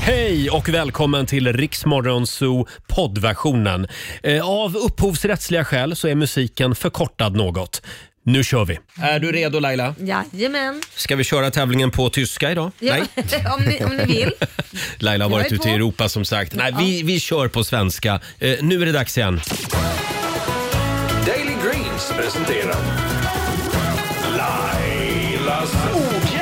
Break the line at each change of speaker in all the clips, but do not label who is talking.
Hej och välkommen till Riksmorgon Zoo poddversionen. Eh, Av upphovsrättsliga skäl så är musiken förkortad något. Nu kör vi! Är du redo Laila?
Jajamän.
Ska vi köra tävlingen på tyska idag?
Ja, om, ni, om ni vill.
Laila har
Jag
varit
är
ute i
på.
Europa som sagt. Nej, vi, vi kör på svenska. Eh, nu är det dags igen.
Daily Greens presenterar Lailas ordjakt.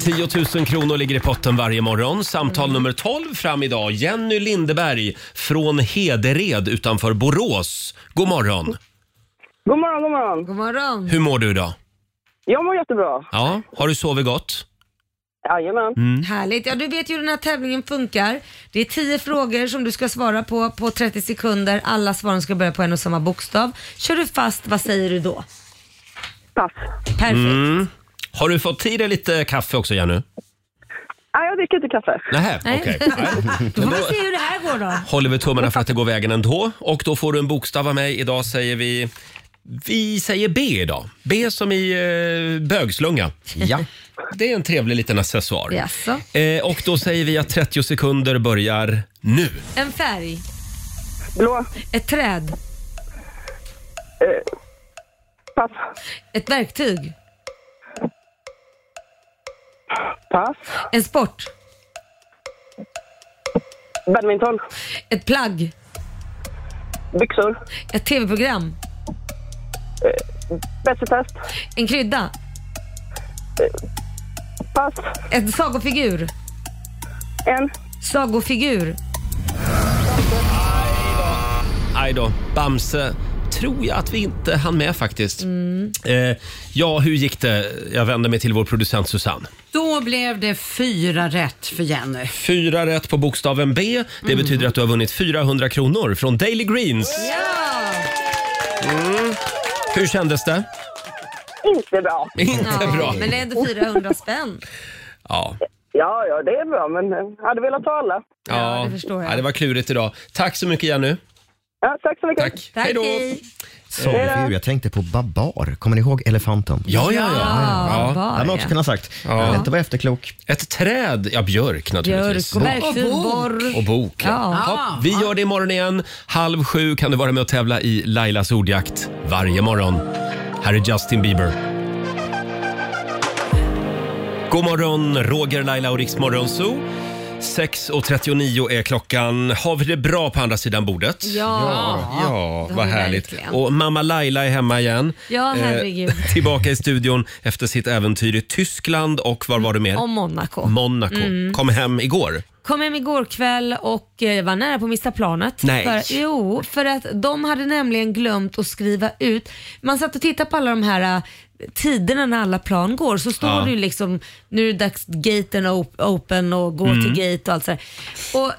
10 000 kronor ligger i potten varje morgon. Samtal nummer 12 fram idag. Jenny Lindeberg från Hedered utanför Borås. God morgon!
God morgon, god morgon.
God morgon.
Hur mår du idag?
Jag mår jättebra.
Ja, har du sovit gott?
Jajamän.
Mm.
Härligt. Ja, du vet ju hur den här tävlingen funkar. Det är 10 frågor som du ska svara på på 30 sekunder. Alla svaren ska börja på en och samma bokstav. Kör du fast, vad säger du då?
Pass.
Perfekt.
Mm, Har du fått tid dig lite kaffe också Jenny?
Nej, jag dricker inte kaffe.
Nähä,
Nej.
okej.
då får vi se hur det här går då.
Håller vi tummarna för att det går vägen ändå. Och då får du en bokstav av mig. Idag säger vi... Vi säger B idag. B som i eh, bögslunga. Ja. Det är en trevlig liten accessoar.
Jaså?
Eh, och då säger vi att 30 sekunder börjar nu.
En färg,
Blå.
ett träd,
Pass.
ett verktyg,
Pass.
en sport,
Badminton.
ett plagg,
Byxor.
ett tv-program,
Bästetest.
en krydda,
Pass.
en sagofigur,
En.
sagofigur.
Aj då, Bamse tror jag att vi inte hann med faktiskt. Eh, ja, hur gick det? Jag vänder mig till vår producent Susanne.
Då blev det fyra rätt för Jenny.
Fyra rätt på bokstaven B. Det betyder att du har vunnit 400 kronor från Daily Greens.
Ja!
Hur kändes det?
Inte bra.
Inte bra.
Men det är ändå 400 spänn.
Ja.
Ja, ja, det är bra, men eh, hade velat ta alla.
Ja, det förstår jag.
Ja, det var klurigt idag. Tack så mycket Jenny.
Ja, tack så mycket.
Tack.
Tack,
Hej då.
hej.
Sagofigur, jag tänkte på Babar. Kommer ni ihåg elefanten?
Ja, ja, ja.
Ja,
ja.
Det hade man
var
också
ja.
kunnat sagt. Jag vill inte vara efterklok.
Ett träd, ja björk naturligtvis.
Björk och verktyg,
Och bok.
borr.
Och bok. Ja.
Ja.
Ja, vi gör det imorgon igen. Halv sju kan du vara med och tävla i Lailas ordjakt varje morgon. Här är Justin Bieber. God morgon, Roger, Laila och Riksmorgon Zoo. 6.39 är klockan. Har vi det bra på andra sidan bordet?
Ja.
Ja,
det har
vad
vi
härligt.
verkligen.
Och mamma Laila är hemma igen.
Ja, herregud.
Eh, tillbaka i studion efter sitt äventyr i Tyskland och var var du mer?
Om Mm. Monaco.
Monaco. Kom hem igår.
Kom hem igår kväll och eh, var nära på att missa planet.
Nej.
För, jo, för att de hade nämligen glömt att skriva ut. Man satt och tittade på alla de här eh, tiderna när alla plan går så står
Ja.
det ju liksom nu är det dags gaten op- open och gå till
Mm.
gate och allt sådär. Och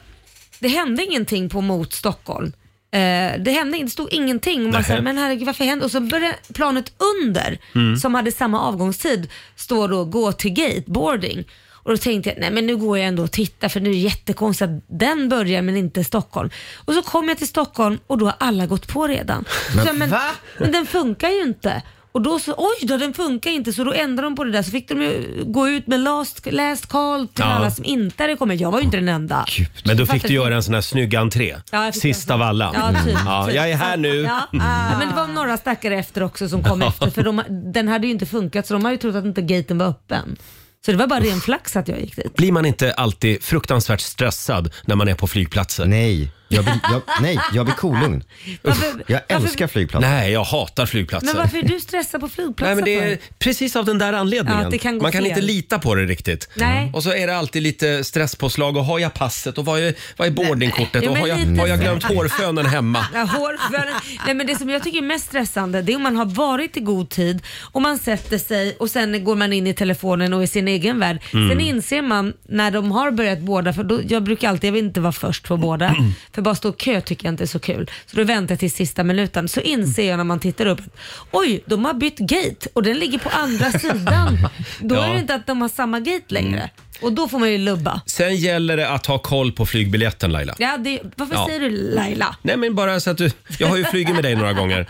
det hände ingenting på mot Stockholm. Eh, det, hände, det stod ingenting. Och Man
Nähä.
sa, men herregud varför hände? Och så började planet under, som hade samma avgångstid, stå då gå till gate, boarding. Och då tänkte jag, nej men nu går jag ändå och tittar för nu är det jättekonstigt att den börjar men inte Stockholm. Och så kom jag till Stockholm och då har alla gått på redan. Men, så, jag, men,
va?
men den funkar ju inte. Och då så, oj då den funkar inte så då ändrade de på det där så fick de ju gå ut med last, last call till
Ja.
alla som inte hade kommit. Jag var ju inte den enda.
Men då fick du
Fattar inte.
göra en sån här snygg entré.
Ja, jag fick
Sist
göra
av
så.
alla. Mm.
Ja, typ,
ja,
typ.
jag är här nu. Mm.
Ja. Ja, men det var några stackare efter också som kom efter för de, den hade ju inte funkat så de hade ju trott att inte gaten var öppen. Så det var bara ren flax att jag gick dit.
Blir man inte alltid fruktansvärt stressad när man är på flygplatser? Nej,
Nej, jag blir, jag, nej, jag blir kolugn.
Varför-
Jag
varför-
älskar flygplatser.
jag hatar flygplatser.
Men varför är du stressad på
Nej,
flygplatsen
men det är
för?
precis av den där anledningen.
Ja, det kan gå
man kan
fel.
inte lita på det riktigt.
Nej.
Och så är det alltid lite stresspåslag. Och har jag passet? Och vad är, vad är boardingkortet?
Jo,
Och
men
har jag,
lite
har jag
så.
glömt hårfönen hemma?
Ja, hårfönen. Nej, men det som jag tycker är mest stressande det är om man har varit i god tid och man sätter sig och sen går man in i telefonen och i sin egen värld.
Mm.
Sen inser man när de har börjat båda, för då, jag brukar alltid, jag vill inte vara först på båda, för bara stå i kö tycker jag inte är så kul. Så då väntar jag till sista minuten. Så inser jag när man tittar upp, oj, de har bytt gate och den ligger på andra sidan. Då
Ja. Mm.
är det inte att de har samma gate längre. Och då får man ju lubba.
Sen gäller det att ha koll på flygbiljetten Laila.
Ja, det, varför
Ja.
säger du Laila?
Nej men bara så att du, jag har ju flugit med dig några gånger.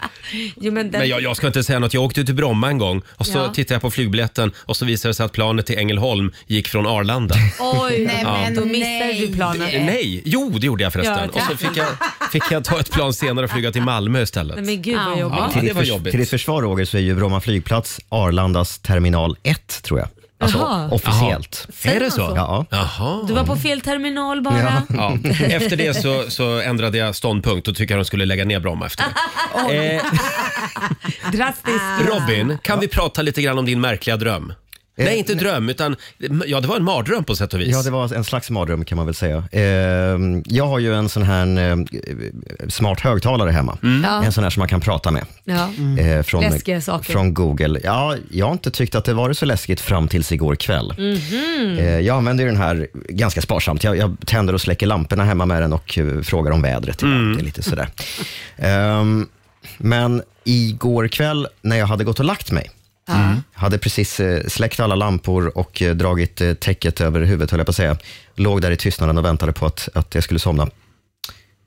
Jo, men den,
Men jag, jag ska inte säga något, jag åkte till Bromma en gång och så
Ja.
tittade jag på flygbiljetten och så visade det sig att planet till Ängelholm gick från Arlanda.
Oj,
Nej, men
då missade
nej.
du planen.
Eh, Nej, jo det gjorde jag
Ja,
förresten.
tack.
Och så fick jag, fick jag ta ett plan senare och flyga till Malmö
Nej,
istället.
men gud vad jobbigt.
Ja,
Till
det
ditt
var
förs- Till ditt
jobbigt.
försvar Roger så är ju Bromma flygplats Arlandas terminal 1 tror jag. Alltså
Jaha.
officiellt.
Säger
Är det
man
så?
Ja.
Jaha.
Du var på fel terminal bara.
Ja.
Ja. Efter det så, så ändrade jag ståndpunkt och tycker att de skulle lägga ner Bromma efter det. Eh,
Drastiskt.
Robin, kan vi prata lite grann om din märkliga dröm? Nej, inte dröm, utan ja, det var en mardröm på sätt och vis.
Ja, det var en slags mardröm kan man väl säga. Eh, jag har ju en sån här eh, smart högtalare hemma.
Mm.
Ja.
En sån här som man kan prata med.
Ja.
Eh, från,
Läskiga saker.
Från Google. Ja, jag har inte tyckt att det varit så läskigt fram tills igår kväll.
Mhm.
Eh, jag använder ju den här ganska sparsamt. Jag, jag tänder och släcker lamporna hemma med den och eh, frågar om vädret. ibland. Det är lite sådär. Ehm, men igår kväll när jag hade gått och lagt mig,
Mm.
hade precis eh, släckt alla lampor och eh, dragit eh, täcket över huvudet, höll jag på att säga. Låg där i tystnaden och väntade på att, att jag skulle somna.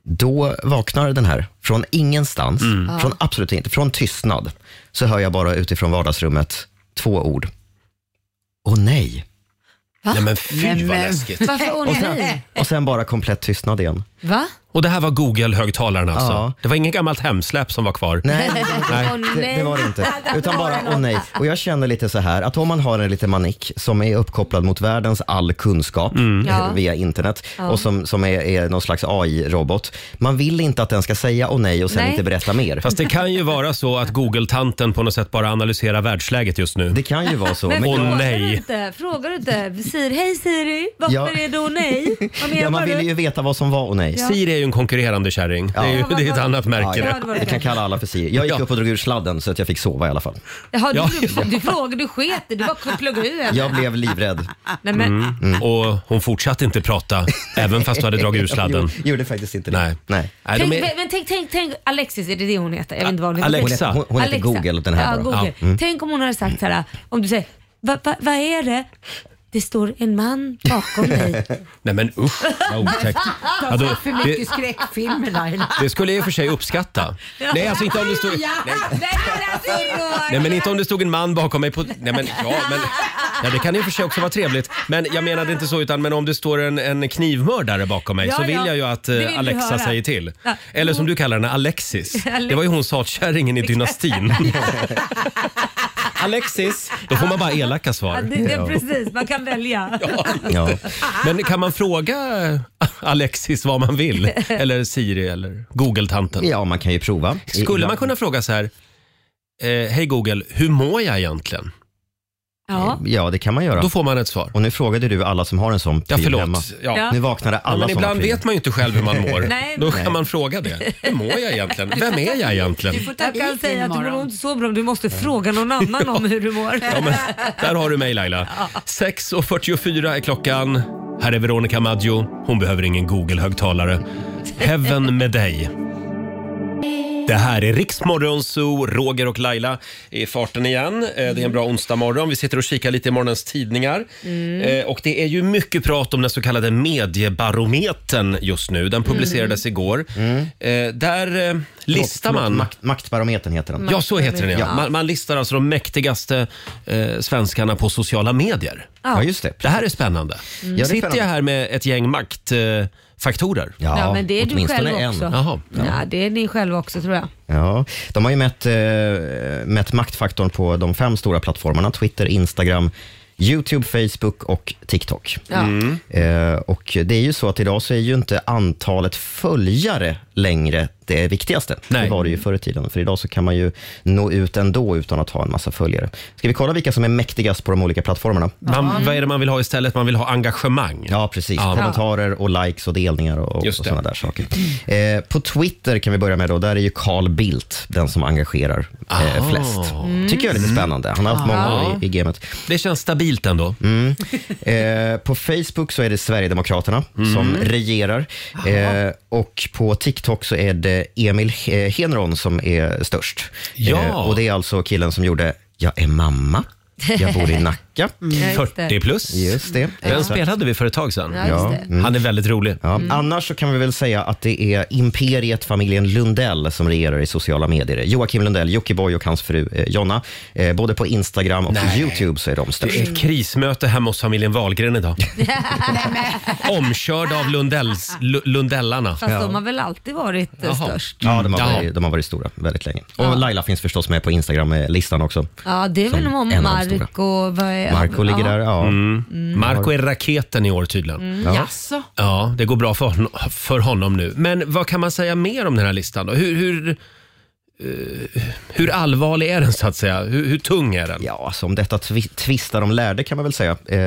Då vaknar den här från ingenstans, från absolut inte, från tystnad. Så hör jag bara utifrån vardagsrummet två ord. Åh nej.
Nej, men fy
Nej,
vad
men-
läskigt.
Varför åh
Och sen,
nej?
och sen bara komplett tystnad igen.
Va?
Och det här var Google-högtalaren alltså?
Ja.
Det var inget gammalt hemsläp som var kvar?
Nej,
Åh
det, det var det inte. Utan bara
det
åh nej. Och jag känner lite så här att om man har en liten manik som är uppkopplad mot världens all kunskap eh,
Ja.
via internet och som, som är, är någon slags AI-robot. Man vill inte att den ska säga åh nej och sen
Nej.
inte berätta mer.
Fast det kan ju vara så att Google-tanten på något sätt bara analyserar världsläget just nu.
Det kan ju vara så.
Men
Åh,
frågar
nej.
du inte? Frågar du inte? Säger hej Siri, varför
Ja.
är det åh nej? Vad menar
ja, man
du?
ville ju veta vad som var och nej.
Siri är ju en konkurrerande kärring. Det, är ju,
Ja, vad
det är ett
var-
annat märke.
Ja,
det.
det var det
Jag kan
kanske.
kalla alla för Siri. Jag gick
Ja.
upp och drog ur sladden så att jag fick sova i alla fall.
Jaha,
Ja.
du, du, du frågade, du sket i det. Du bara pluggade ur henne.
Jag blev livrädd.
Nej, men,
Mm.
Och hon fortsatte inte prata, även fast du hade dragit ur sladden.
Jag gjorde faktiskt inte det.
Nej.
Nej.
Nej,
tänk,
de är,
men tänk, tänk, tänk, Alexis, är det det hon heter? Jag vet inte vad hon heter.
Alexa.
Hon heter, hon, hon heter
Alexa.
Google den här
ja,
bara. Mm.
Google. Tänk om hon hade sagt så här, om du säger, "Va- va- vad är det? Det står en man bakom dig.
nej men usch, vad otäckt. Ja, då,
För
det,
mycket skräckfilmer Laila.
det skulle jag i och för sig uppskatta. Nej, alltså inte om det stod... Nej,
alltså,
Nej men inte om det stod en man bakom mig på... Nej men ja, men... Ja, det kan i och för sig också vara trevligt. Men jag menade inte så utan men om det står en, en knivmördare bakom mig
Ja,
så vill
ja.
jag ju att
Det
eh,
vill du
Alexa
höra.
säger till.
Ja. Mm.
Eller som du kallar henne, Alexis.
Alex-
Det var ju hon satkärringen i Dynastin. Alexis! Då får man bara elaka
Ja,
svar.
det, det, precis, man kan välja.
Ja.
Men kan man fråga Alexis vad man vill? Eller Siri eller Google-tanten?
ja, man kan ju prova. I-
Skulle man
ibland-
kunna fråga så här, eh, hej Google, hur mår jag egentligen?
Ja.
Ja, det kan man göra.
Då får man ett svar.
Och nu frågade du alla som har en sån
Ja,
pryl hemma.
förlåt. Ja.
Ja.
Nu vaknade alla
Ja, men
som har
ibland
pryl.
vet man ju inte själv hur man mår.
Nej.
Då kan
Nej.
man fråga det. Hur mår jag egentligen? Vem är jag egentligen?
får
Jag kan
dit
säga att du mår
imorgon.
inte så bra men du måste fråga någon annan om hur du mår.
Ja, men, där har du mig Laila. 6.44 är klockan. Här är Veronica Maggio. Hon behöver ingen Google-högtalare. Heaven med dig. Det här är Riksmorgon Zoo, Roger och Laila är i farten igen. Eh, Det är en bra onsdagmorgon. Vi sitter och kikar lite i morgonens tidningar.
Mm.
Eh, Och det är ju mycket prat om den så kallade mediebarometern just nu. Den publicerades igår. Eh, Där eh,
Mm. Förlåt,
listar
förlåt,
man...
Makt, maktbarometern heter den.
Ja, så heter den ja. Man, man listar alltså de mäktigaste eh, svenskarna på sociala medier.
Ja, just det.
Det här är spännande.
det är
Sitter
spännande.
jag här med ett gäng maktfaktorer? Eh, faktorer?
Ja,
Ja, men det är du
åtminstone
själv
en.
också.
Jaha.
Ja. det är ni själva också tror jag.
Ja, de har ju mätt, eh, mätt maktfaktorn på de fem stora plattformarna, Twitter, Instagram, Youtube, Facebook och TikTok.
Ja.
Mm,
Eh, och det är ju så att idag så är ju inte antalet följare längre det viktigaste.
Nej.
Det var det ju förr i tiden, för idag så kan man ju nå ut ändå utan att ha en massa följare. Ska vi kolla vilka som är mäktigast på de olika plattformarna?
Man, vad är det man vill ha istället? Man vill ha engagemang.
Ja, precis. Kommentarer och likes och delningar och, och
Just det.
sådana där saker. Eh, på Twitter kan vi börja med då, där är ju Carl Bildt den som engagerar eh,
Ah.
flest. Tycker jag är
Mm.
lite spännande. Han har haft många år i, i gamet.
Det känns stabilt ändå.
Eh, på Facebook så är det Sverigedemokraterna
Mm.
som regerar. Eh, och på TikTok så är det Emil eh, Henron som är störst. Eh,
Ja.
och det är alltså killen som gjorde “Jag är mamma, jag bor i Nacka” vecka.
Mm.
Ja, just det.
40 plus.
Just det.
Den spelade vi för ett tag sedan.
Ja, just det.
Mm.
Han är väldigt rolig.
Ja, Annars så kan vi väl säga att det är imperiet familjen Lundell som regerar i sociala medier. Joakim Lundell, Jockiboi och hans fru eh, Jonna. Eh, både på Instagram och på Youtube så är de
Det är
störst.
ett krismöte hemma hos familjen Wahlgren idag. Omkörd av Lundells, Lu- Lundellarna.
Fast de har väl alltid varit eh,
Jaha.
störst.
Ja, de har,
Mm. Ja.
varit, de har varit stora väldigt länge. Och Laila finns förstås med på Instagram-listan också.
Ja, det är väl
Som
om
en av de
Marco... och vad är-
Marco ligger
ja.
där. Ja.
Marco är raketen i år tydligen.
Jaså?
Ja, det går bra för honom, för honom nu. Men vad kan man säga mer om den här listan då? Hur, hur, eh, hur allvarlig är den så att säga? Hur, hur tung är den?
Ja, alltså om detta tvi- tvistar om lärde kan man väl säga, eh,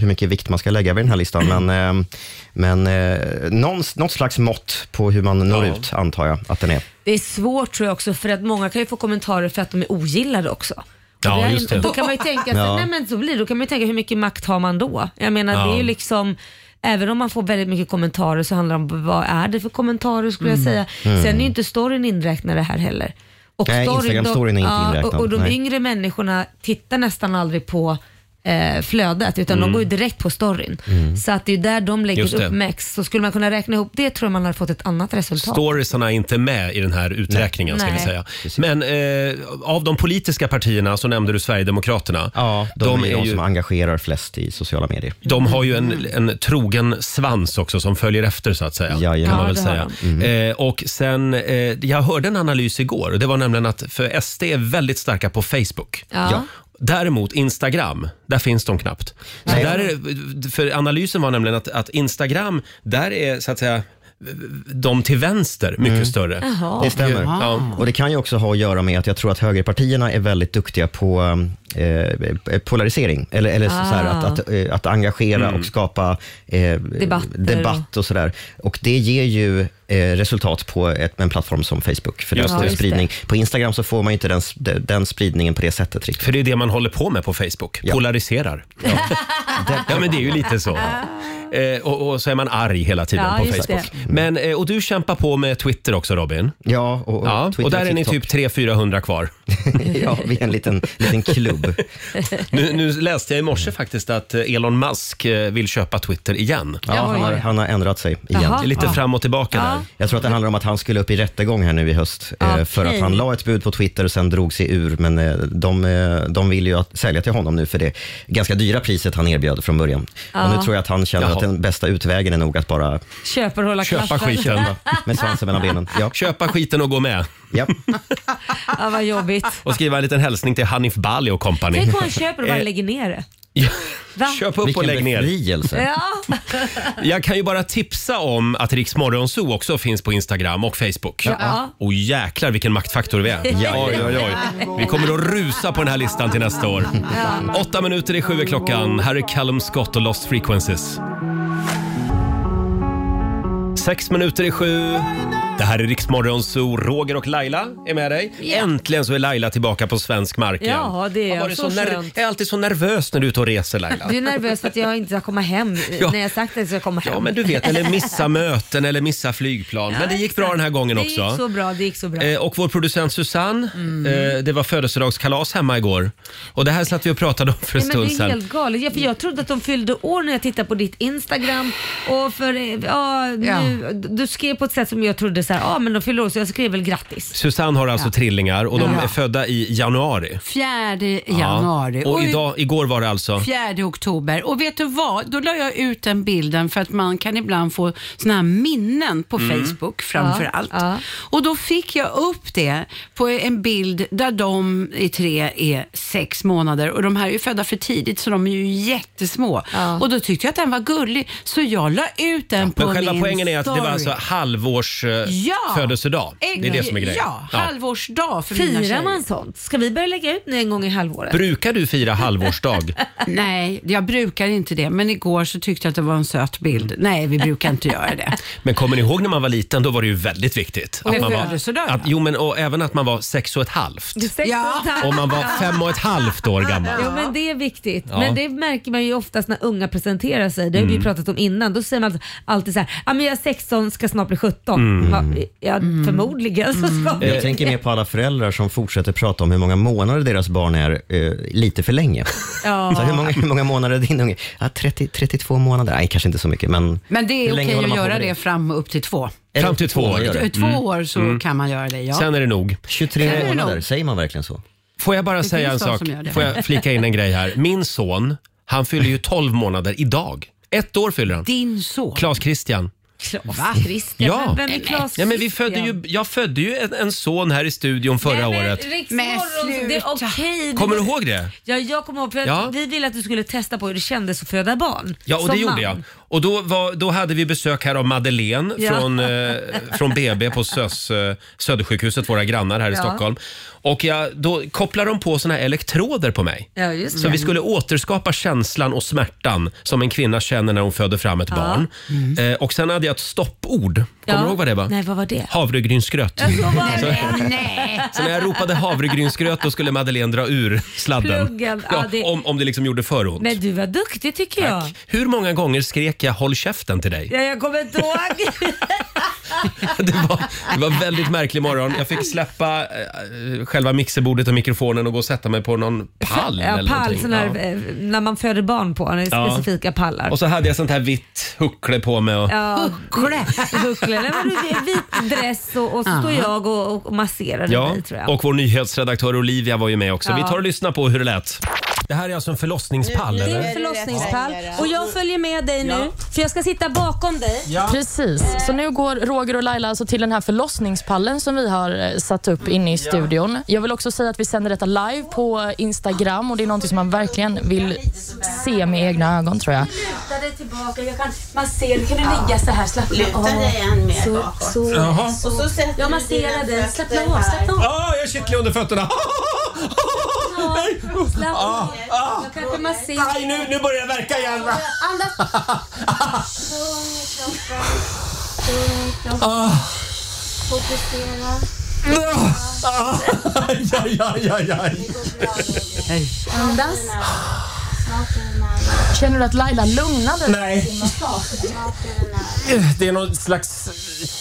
hur mycket vikt man ska lägga vid den här listan. Men, eh, men eh, någon, något slags mått på hur man når
Ja.
ut, antar jag att den är.
Det är svårt tror jag också för att många kan ju få kommentarer för att de är ogillade också. Och
Ja,
är-
just det.
Då kan man ju tänka, sig,
Ja.
nej, men så blir det. Då kan man ju tänka hur mycket makt har man då? Jag menar det är ju liksom Även om man får väldigt mycket kommentarer så handlar det om vad är det för kommentarer skulle jag säga. Sen är ju inte storyn inräknad i det här heller. Och
Nej, Instagram-storyn är inte
ja,
inräknad,
Och, och de
nej.
yngre människorna tittar nästan aldrig på eh, flödet utan de går ju direkt på storyn. Så att det är ju där de
Just
lägger
det.
upp max. Så skulle man kunna räkna ihop det tror jag man hade fått ett annat resultat.
Storiesarna är inte med i den här uträkningen ska vi
Nej.
säga. Men eh, av de politiska partierna så nämnde du Sverigedemokraterna.
Ja, de, är ju de
ju,
som engagerar flest i sociala medier.
de har ju en,
Mm.
en trogen svans också som följer efter så att säga.
Jajamän.
Kan man
Ja,
väl
det har Mm.
säga. Eh, och sen, eh, jag hörde en analys igår. Det var nämligen att för SD är väldigt starka på Facebook.
Ja.
Däremot Instagram, där finns de knappt. Så där är, det- för analysen var nämligen att, att Instagram, där är så att säga de till vänster mycket större.
Mm. Jaha.
Det stämmer.
Ja.
Och Det kan ju också ha att göra med att jag tror att högerpartierna är väldigt duktiga på eh, polarisering. Eller, eller så så här, att, att, eh, att engagera
Mm.
och skapa eh,
Debatter.
debatt och sådär. Och det ger ju eh, resultat på ett, en plattform som Facebook. För
Just
där
det.
får
Ja,
det.
just
spridning. På Instagram så får man ju inte den, s- den den spridningen på det sättet riktigt.
För det är det man håller på med på Facebook.
Ja.
Polariserar. Ja. men det är ju lite så. Eh, och, och så är man arg hela tiden
Ja,
på
just
Facebook. Men, eh, och du kämpar på med Twitter också Robin.
Ja, Mm. och, och,
Ja,
Twitter
och där är ni
TikTok.
typ 300-400 kvar.
ja, vi är en liten, liten klubb.
Nu, nu läste jag i morse faktiskt att eh, Elon Musk eh, vill köpa Twitter igen.
Ja, han, har, han har ändrat sig igen.
Det är lite fram och tillbaka där.
Jag tror att det handlar om att han skulle upp i rättegång här nu i höst eh,
Ah, Okej.
för att han la ett bud på Twitter och sen drog sig ur. Men eh, de, eh, de vill ju att, sälja till honom nu för det ganska dyra priset han erbjöd från början. Och nu tror jag att han känner
Jaha.
att den bästa utvägen är nog att bara
Köper och hålla
Köpa
klaffen.
skiten.
med svansen mellan benen. Ja.
Köpa skiten och gå med.
Ja.
Ja, vad jobbigt.
Och skriva en liten hälsning till Hanif Bali och company.
Tänk om han köper och
Eh.
bara lägger ner det.
Ja,
Va?
Köp upp och lägg ner.
befrielse.
Ja,
Jag kan ju bara tipsa om att Rix Morgonzoo också finns på Instagram och Facebook.
Ja.
Och jäklar vilken maktfaktor vi är. Oj, oj, oj. Vi kommer att rusa på den här listan till nästa år. Åtta minuter i sju är klockan. Här är Callum Scott och Lost Frequencies. Sex minuter i sju. Det här är Rix Morgonzoo. Roger och Laila är med dig. Äntligen så är Laila tillbaka på svensk mark igen.
Ja, det är
Har varit
så
ner-
skönt.
Jag är alltid så nervös när du är ute och reser Laila.
du är nervös för att jag inte ska komma hem
Ja.
när jag sagt att jag ska komma hem.
Ja, men du vet, eller missa möten eller missa flygplan. men det gick bra den här gången
det
också.
gick så bra, det gick så bra.
Eh, Och vår producent Susanne, eh, det var födelsedagskalas hemma igår. Och det här satt vi och pratade om för en
Nej, men
stund
det är
sedan.
helt galet. Ja, för jag trodde att de fyllde år när jag tittade på ditt Instagram. Och för, eh, ja, nu, Du skrev på ett sätt som jag trodde så här, ja men de fyller år så jag skrev väl grattis.
Susanne har alltså trillingar och de
Ja.
är födda i januari.
Fjärde
Ja.
januari.
Och
Oj,
idag, igår var det alltså...
fjärde oktober. Och vet du vad? Då la jag ut den bilden för att man kan ibland få såna här minnen på
Mm.
Facebook framför
Ja,
allt.
ja.
Och då fick jag upp det på en bild där de i tre är sex månader och de här är ju födda för tidigt så de är ju jättesmå.
Ja.
Och då tyckte jag att den var gullig så jag la ut den på
Men själva
min
poängen är att det var alltså
story.
halvårs eh,
Ja.
födelsedag. Det är det
Exakt.
som är grejen.
Ja, halvårsdag för mina
Firar
tjejer.
man sånt? Ska vi börja lägga ut nu en gång i halvåret?
Brukar du fira halvårsdag?
Nej, jag brukar inte det, men igår så tyckte jag att det var en söt bild. Nej, vi brukar inte göra det.
Men kommer ni ihåg när man var liten? Då var det ju väldigt viktigt.
Med
man
födelsedag,
att,
ja.
jo, men och även att man var sex och ett halvt.
Sex
Ja.
och ett halvt.
Om man var fem och ett halvt år gammal.
Jo men det är viktigt.
Ja. Mm.
Men det märker man ju oftast när unga
Mm.
presenterar sig. Det har vi ju pratat om innan. Då säger man alltid så här, ah, men jag är 16 ska snart bli 17. Va, ja,
Mm.
förmodligen så ska
Eh,
vi.
Jag tänker mer på alla föräldrar som fortsätter prata om hur många månader deras barn är eh, lite för länge. Så
Ja.
hur, många, hur många månader är din unge? Ja, 30, 32 månader. Nej, kanske inte så mycket, men...
Men det är
Hur länge
okej
håller
att
man på
göra
med det?
det fram upp till två.
Eller
Fram till två år.
gör det.
Ö, Två år så kan man göra det, ja.
Sen är det nog.
23
Sen är det
månader,
nog.
säger man verkligen så?
Får jag bara
Det
säga en
finns de
sak?
som gör det.
Får jag flika in en grej här? Min son, han fyller ju 12 månader idag. Ett år fyller han.
Din son.
Klas Christian.
Va?
Christian,
Ja.
men vem är Claes
Ja, men vi
Christian?
födde ju, jag födde ju en, en son här i studion förra
Nej, men
året.
Men
Riksmorgon, det är
sluta.
okej. Det-
Kommer du ihåg det?
Ja, jag kommer ihåg. För att
Ja.
Vi ville att du skulle testa på hur det kändes att föda barn.
Ja, och
Som
det gjorde
man.
jag. Och då, var, då hade vi besök här av Madeleine
Ja.
från, eh, från BB på Sös, eh, Södersjukhuset, våra grannar här i
Ja.
Stockholm. Och jag, då kopplade de på såna här elektroder på mig.
Ja, just
Så vi skulle återskapa känslan och smärtan som en kvinna känner när hon föder fram ett barn. Eh, och sen hade jag ett stoppord. Kommer
Mm. Ja.
du ihåg vad det var?
Nej, vad var det? Mm.
Havregrynsgröt.
Ja, så var det.
Nej.
Så när jag ropade havregrynsgröt då skulle Madeleine dra ur sladden.
Pluggen, ja,
Ja,
det-
om, om det liksom gjorde för ont.
Men du var duktig tycker jag.
Hur många gånger skrek jag “håll käften” till dig?
Ja, jag kommer inte ihåg.
Det var, det var en väldigt märklig morgon. Jag fick släppa eh, själva mixerbordet och mikrofonen och gå och sätta mig på någon pall.
ja,
eller
pall,
någonting.
sån här,
Ja.
eh, När man föder barn på, när det är
Ja.
specifika pallar.
Och så hade jag sånt här vitt huckle på mig. Och,
Ja,
Huckle.
huckle. Nej, men du, det är vit dress och, och så står jag och, och masserar
Ja,
dig tror jag.
och vår nyhetsredaktör Olivia var ju med också. Vi
Ja.
tar och lyssnar på hur det lät. Det här är alltså en förlossningspall,
Det är
eller?
en förlossningspall och jag följer med dig nu för jag ska sitta bakom dig.
Precis. Så nu går Roger och Laila alltså till den här förlossningspallen som vi har eh, satt upp inne i studion. Jag vill också säga att vi sänder detta live på Instagram och det är någonting som man verkligen vill se med egna ögon tror jag.
Luta dig tillbaka, jag kan, man ser, du kan du ligga så här, slappna av.
Luta dig än mer
Så,
bakåt.
så.
Jaha.
så.
Och så sätter
Jag
du
masserar
dina
dig,
fötter
slappna av,
eh, här.
slappna av.
Ah, jag är kittlig under fötterna! Nej,
Slappna av.
ah.
Jag kanske masserar.
Aj, nu, nu börjar det verka igen! va?
Andas.
Fokusera.
Ah. Aj, aj, aj, aj, aj.
Andas.
Snart är det nära.
Känner du att Laila lugnade dig?
Nej,
Snart är det nära.
det är någon slags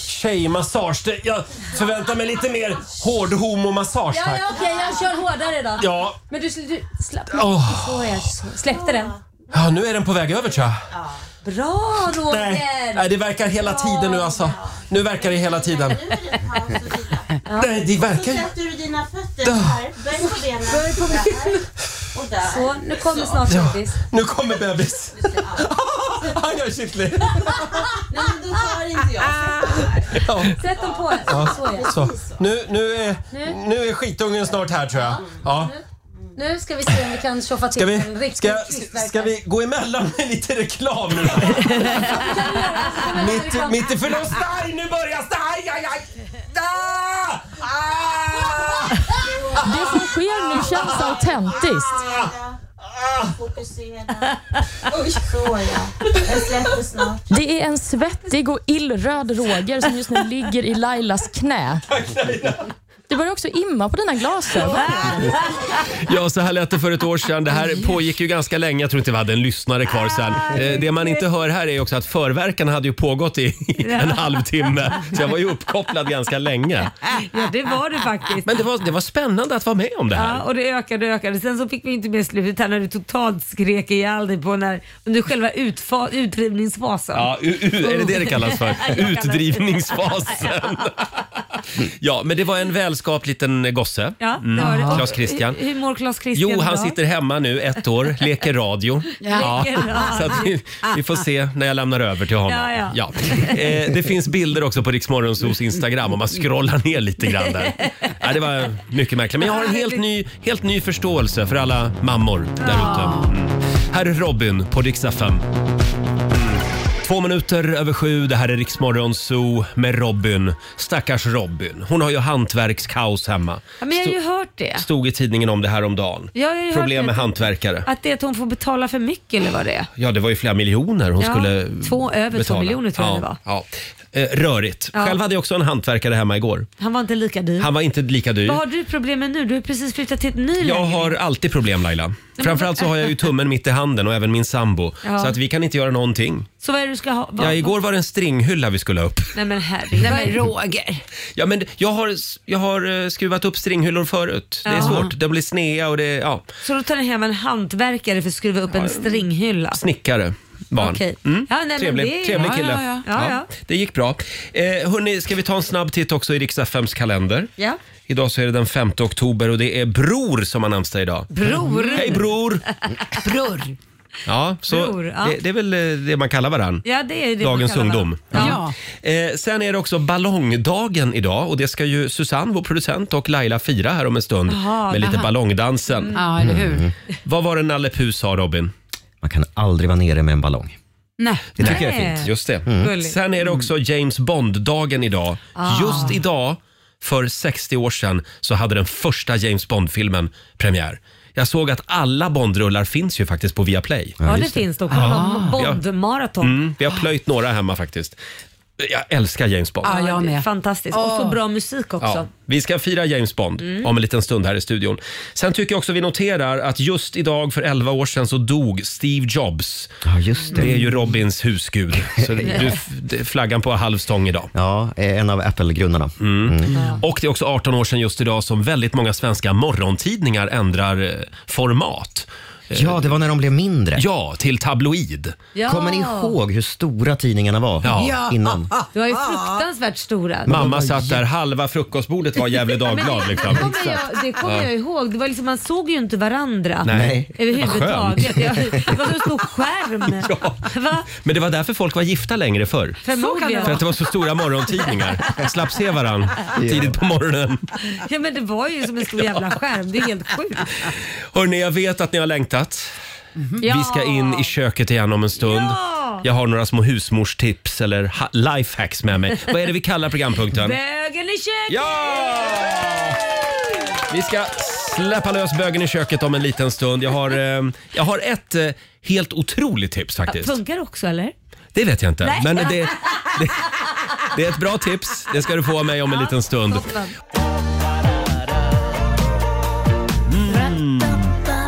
tjejmassage. Det- Jag förväntar mig lite mer hård homomassage,
Ja,
tack.
ja, okej, jag kör hårdare då.
Ja,
Men du, du slappna
Åh.
Så är så. Släppte den.
ja, nu är den på väg över tror jag.
Bra
Nej,
Roger!
nej, det verkar hela tiden nu alltså. Nu verkar det hela tiden.
Nu är det en paus och vila.
Nej, det
Så
verkar ju...
sätter du dina fötter här. Böj på benen. Böj på benen. Och där.
Så, nu kommer snart bebis.
Nu kommer bebis. Aj, jag är kittlig.
Nej, men då tar inte jag.
Ja,
Sätt dem på. Så ja.
så. Nu, nu, är, nu är skitungen snart här tror jag. Ja.
Nu ska vi se om vi kan tjoffa till
Ska, vi,
en riktig
ska,
kvistverkan.
ska vi gå emellan med lite reklam nu? mitt, mitt i förlust... Aj, nu börjar det! Aj, aj, aj! Ah! Ah!
Det som sker nu känns autentiskt.
Ah!
Fokusera. Så ja. Jag släpper snart.
Det är en svettig och illröd Roger som just nu ligger i Lailas knä. Du börjar också imma på dina glasögon.
Ja, så här lät det för ett år sedan. Det här pågick ju ganska länge. Jag tror inte vi hade en lyssnare kvar sen. Eh, Det man inte hör här är ju också att förverkan hade ju pågått i i en halvtimme. Så jag var ju uppkopplad ganska länge.
Ja, det var det faktiskt.
Ah! Men det var, det var spännande att vara med om det
Ja,
här.
och det ökade och ökade. Sen så fick vi inte med slutet här när du totalt skrek ihjäl dig på när, under själva utfa, utdrivningsfasen.
Ja, u, u, är det det det kallas för? Utdrivningsfasen. Ja, men det var en välskapt liten gosse.
Ja, det var det. Och
Mm. Claes Christian.
Hur, hur mår Claes Christian
Jo, han
idag?
sitter hemma nu ett år, leker radio. Ja.
Leker radio.
Så att vi, vi får se när jag lämnar över till honom.
Ja, ja. Mm.
Eh, det finns bilder också på Riksmorgonsos Instagram om man scrollar ner lite grann där. Ja, det var mycket märkligt. Men jag har en helt ny, helt ny förståelse för alla mammor där ute. Mm. Här är Robin på Riksdag 5. Mm. Två minuter över sju, det här är Riksmorgon Zoo med Robin. Stackars Robin. Hon har ju hantverkskaos hemma.
Ja, men jag har ju hört det.
Stod i tidningen om det här om dagen.
Ja, jag har ju
Problem
hört
med
det.
hantverkare.
Att det är att hon får betala för mycket eller vad det är.
Ja, det var ju flera miljoner hon
Ja,
skulle
två- över två
betala.
miljoner tror jag
ja,
det var.
Ja. Eh, Rörigt.
Ja. Mm.
Själv hade jag också en hantverkare hemma igår.
Han var inte lika dyr.
Han var inte lika dyr.
Vad har du problem med nu? Du har precis flyttat till ett ny
Jag
lägenhet.
har alltid problem Laila. Framförallt så har jag ju tummen mitt i handen och även min sambo.
Ja.
Så att vi kan inte göra någonting.
Så vad är det du ska ha? Vad-
Ja, igår var det en stringhylla vi skulle ha upp.
Nej men herregud.
Nej men Roger.
Ja, men jag har, jag har eh, skruvat upp stringhyllor förut. Det är
Ja.
svårt. De blir snea och det är, ja,
Så då tar ni hem en hantverkare för att skruva upp en stringhylla?
snickare. Barn. Mm.
Okej. Ja, nej, men
trevlig,
det är-
trevlig
ja,
kille.
ja, ja. Ja, ja.
det gick bra. Eh, hörni, ska vi ta en snabb titt också i riks FMs kalender?
Ja.
Idag så är det den 5 oktober och det är Bror som har namnsdag idag.
Bror.
Hej Bror!
Bror.
Ja, så
Bror, ja.
Det, det är väl eh, det man kallar varann.
Ja, det är det man
Dagens
kallar varandra.
ungdom.
Ja.
Eh, sen är det också ballongdagen idag och det ska ju Susanne, vår producent, och Laila fira här om en stund
Jaha, Mm.
med lite ballongdansen.
Ja, eller hur?
Vad var det Nalle Puh sa Robin?
Man kan aldrig vara nere med en ballong.
Nej.
Det tycker jag är
Nej. Mm.
fint.
Just det. Mm.
Gulligt. Ah.
Sen är det också James Bond-dagen idag. Just idag, för 60 år sedan, så hade den första James Bond-filmen premiär. Jag såg att alla Bondrullar finns ju faktiskt på Viaplay.
Ja, det finns då. Kolla Bondmaraton.
Mm, vi har plöjt några hemma faktiskt. Jag älskar James Bond.
Ja,
Ja,
jag
det är
med.
Fantastiskt. Och så bra musik också. Mm.
Ja, vi ska fira James Bond om en liten stund här i studion. Sen tycker jag också vi noterar att just idag för 11 år sedan så dog Steve Jobs.
Ja, just
Det är
det.
Mm.
ju Robins husgud. Så du, det- flaggan på halv stång idag.
Ja, är en av Apple-grundarna.
Mm. Och det är också 18 år sedan just idag som väldigt många svenska morgontidningar ändrar eh, format.
Ja, det var när de blev mindre.
Ja, till tabloid.
Ja.
Kommer ni ihåg hur stora tidningarna var
Ja.
innan?
Du har ju fruktansvärt stora.
Mamma satt där, halva frukostbordet var Gävle Dagblad. Liksom.
Det kommer jag, det kommer jag ihåg. Det var liksom, man såg ju inte varandra.
Nej.
Överhuvudtaget. Ja, Det var som en stor skärm. Va?
Men det var därför folk var gifta längre förr.
Förmodligen.
För att det var så stora morgontidningar. Slapp se varann tidigt på morgonen.
Ja, men det var ju som en stor jävla skärm. Det är helt sjukt.
Hörni, jag vet att ni har längtat.
Ja.
Vi ska in i köket igen om en stund.
Ja.
Jag har några små husmorstips eller ha- lifehacks med mig. Vad är det vi kallar programpunkten?
Bögen i köket!
Ja! Vi ska släppa lös bögen i köket om en liten stund. Jag har, eh, jag har ett eh, helt otroligt tips faktiskt.
Funkar också eller?
Det vet jag inte, men det, det, det är ett bra tips. Det ska du få av mig om en liten stund.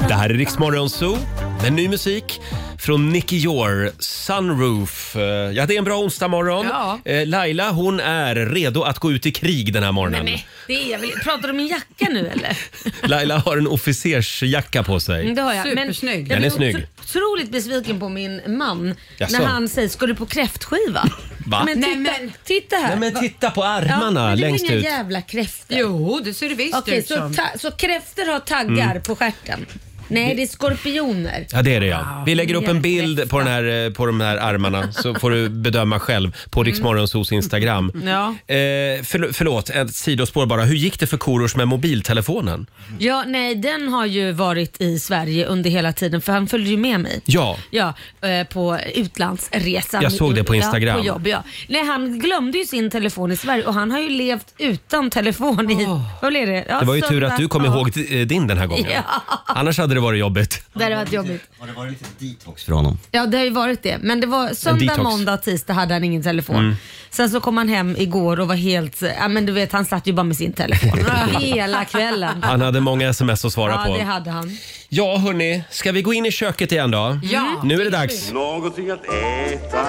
Det här är Riksmorgon Zoo med ny musik från Nicky Jor, Sunroof. Eh, Ja, det är en bra onsdagmorgon.
Ja.
Eh, Laila, hon är redo att gå ut i krig den här morgonen.
Nej, det är jag väl Pratar du om min jacka nu eller? Mm,
Laila har en officersjacka på sig.
Det har jag.
Supersnygg.
jag
Den är
blev
snygg.
otroligt besviken på min man
Jaså?
när han säger “ska du på kräftskiva?”
Va?
Men titta,
Nej, men-
titta här.
Nej, men titta på
Ja,
armarna
men det är
längst
inga
ut.
jävla kräftor.
Jo, det ser det visst
Okej,
ut
så,
som.
ta- så kräftor har taggar på stjärten? Nej, det är skorpioner.
Mm. Ja, det är det ja. Vi lägger upp en bild på, den här, eh, på de här armarna så får du bedöma själv på Riksmorgonsos Instagram.
Ja.
Eh, förl- förlåt, ett sidospår bara. Hur gick det för Korosh med mobiltelefonen?
Ja, nej, den har ju varit i Sverige under hela tiden för han följde ju med mig.
Ja.
Ja, eh, på utlandsresa.
Jag såg det på Instagram.
Ja, på jobb, ja. Nej, han glömde ju sin telefon i Sverige och han har ju levt utan telefon i... Vad blev det? Ja,
Det var ju tur
söndag.
att du kom
Ja.
ihåg di- eh, din den här gången.
Alltså, Ja.
Annars hade det varit jobbigt.
Det hade varit jobbigt.
Har det varit lite detox för honom?
Ja, det har ju varit det. Men det var söndag,
detox. Mm.
måndag, tisdag hade han ingen telefon. Sen så kom han hem igår och var helt... Ja, men du vet, han satt ju bara med sin telefon hela kvällen.
Han hade många sms att svara
Ja, det
på.
hade han.
Ja, hörni. Ska vi gå in i köket igen då?
Ja.
Mm.
Nu är det dags.
Någonting att äta,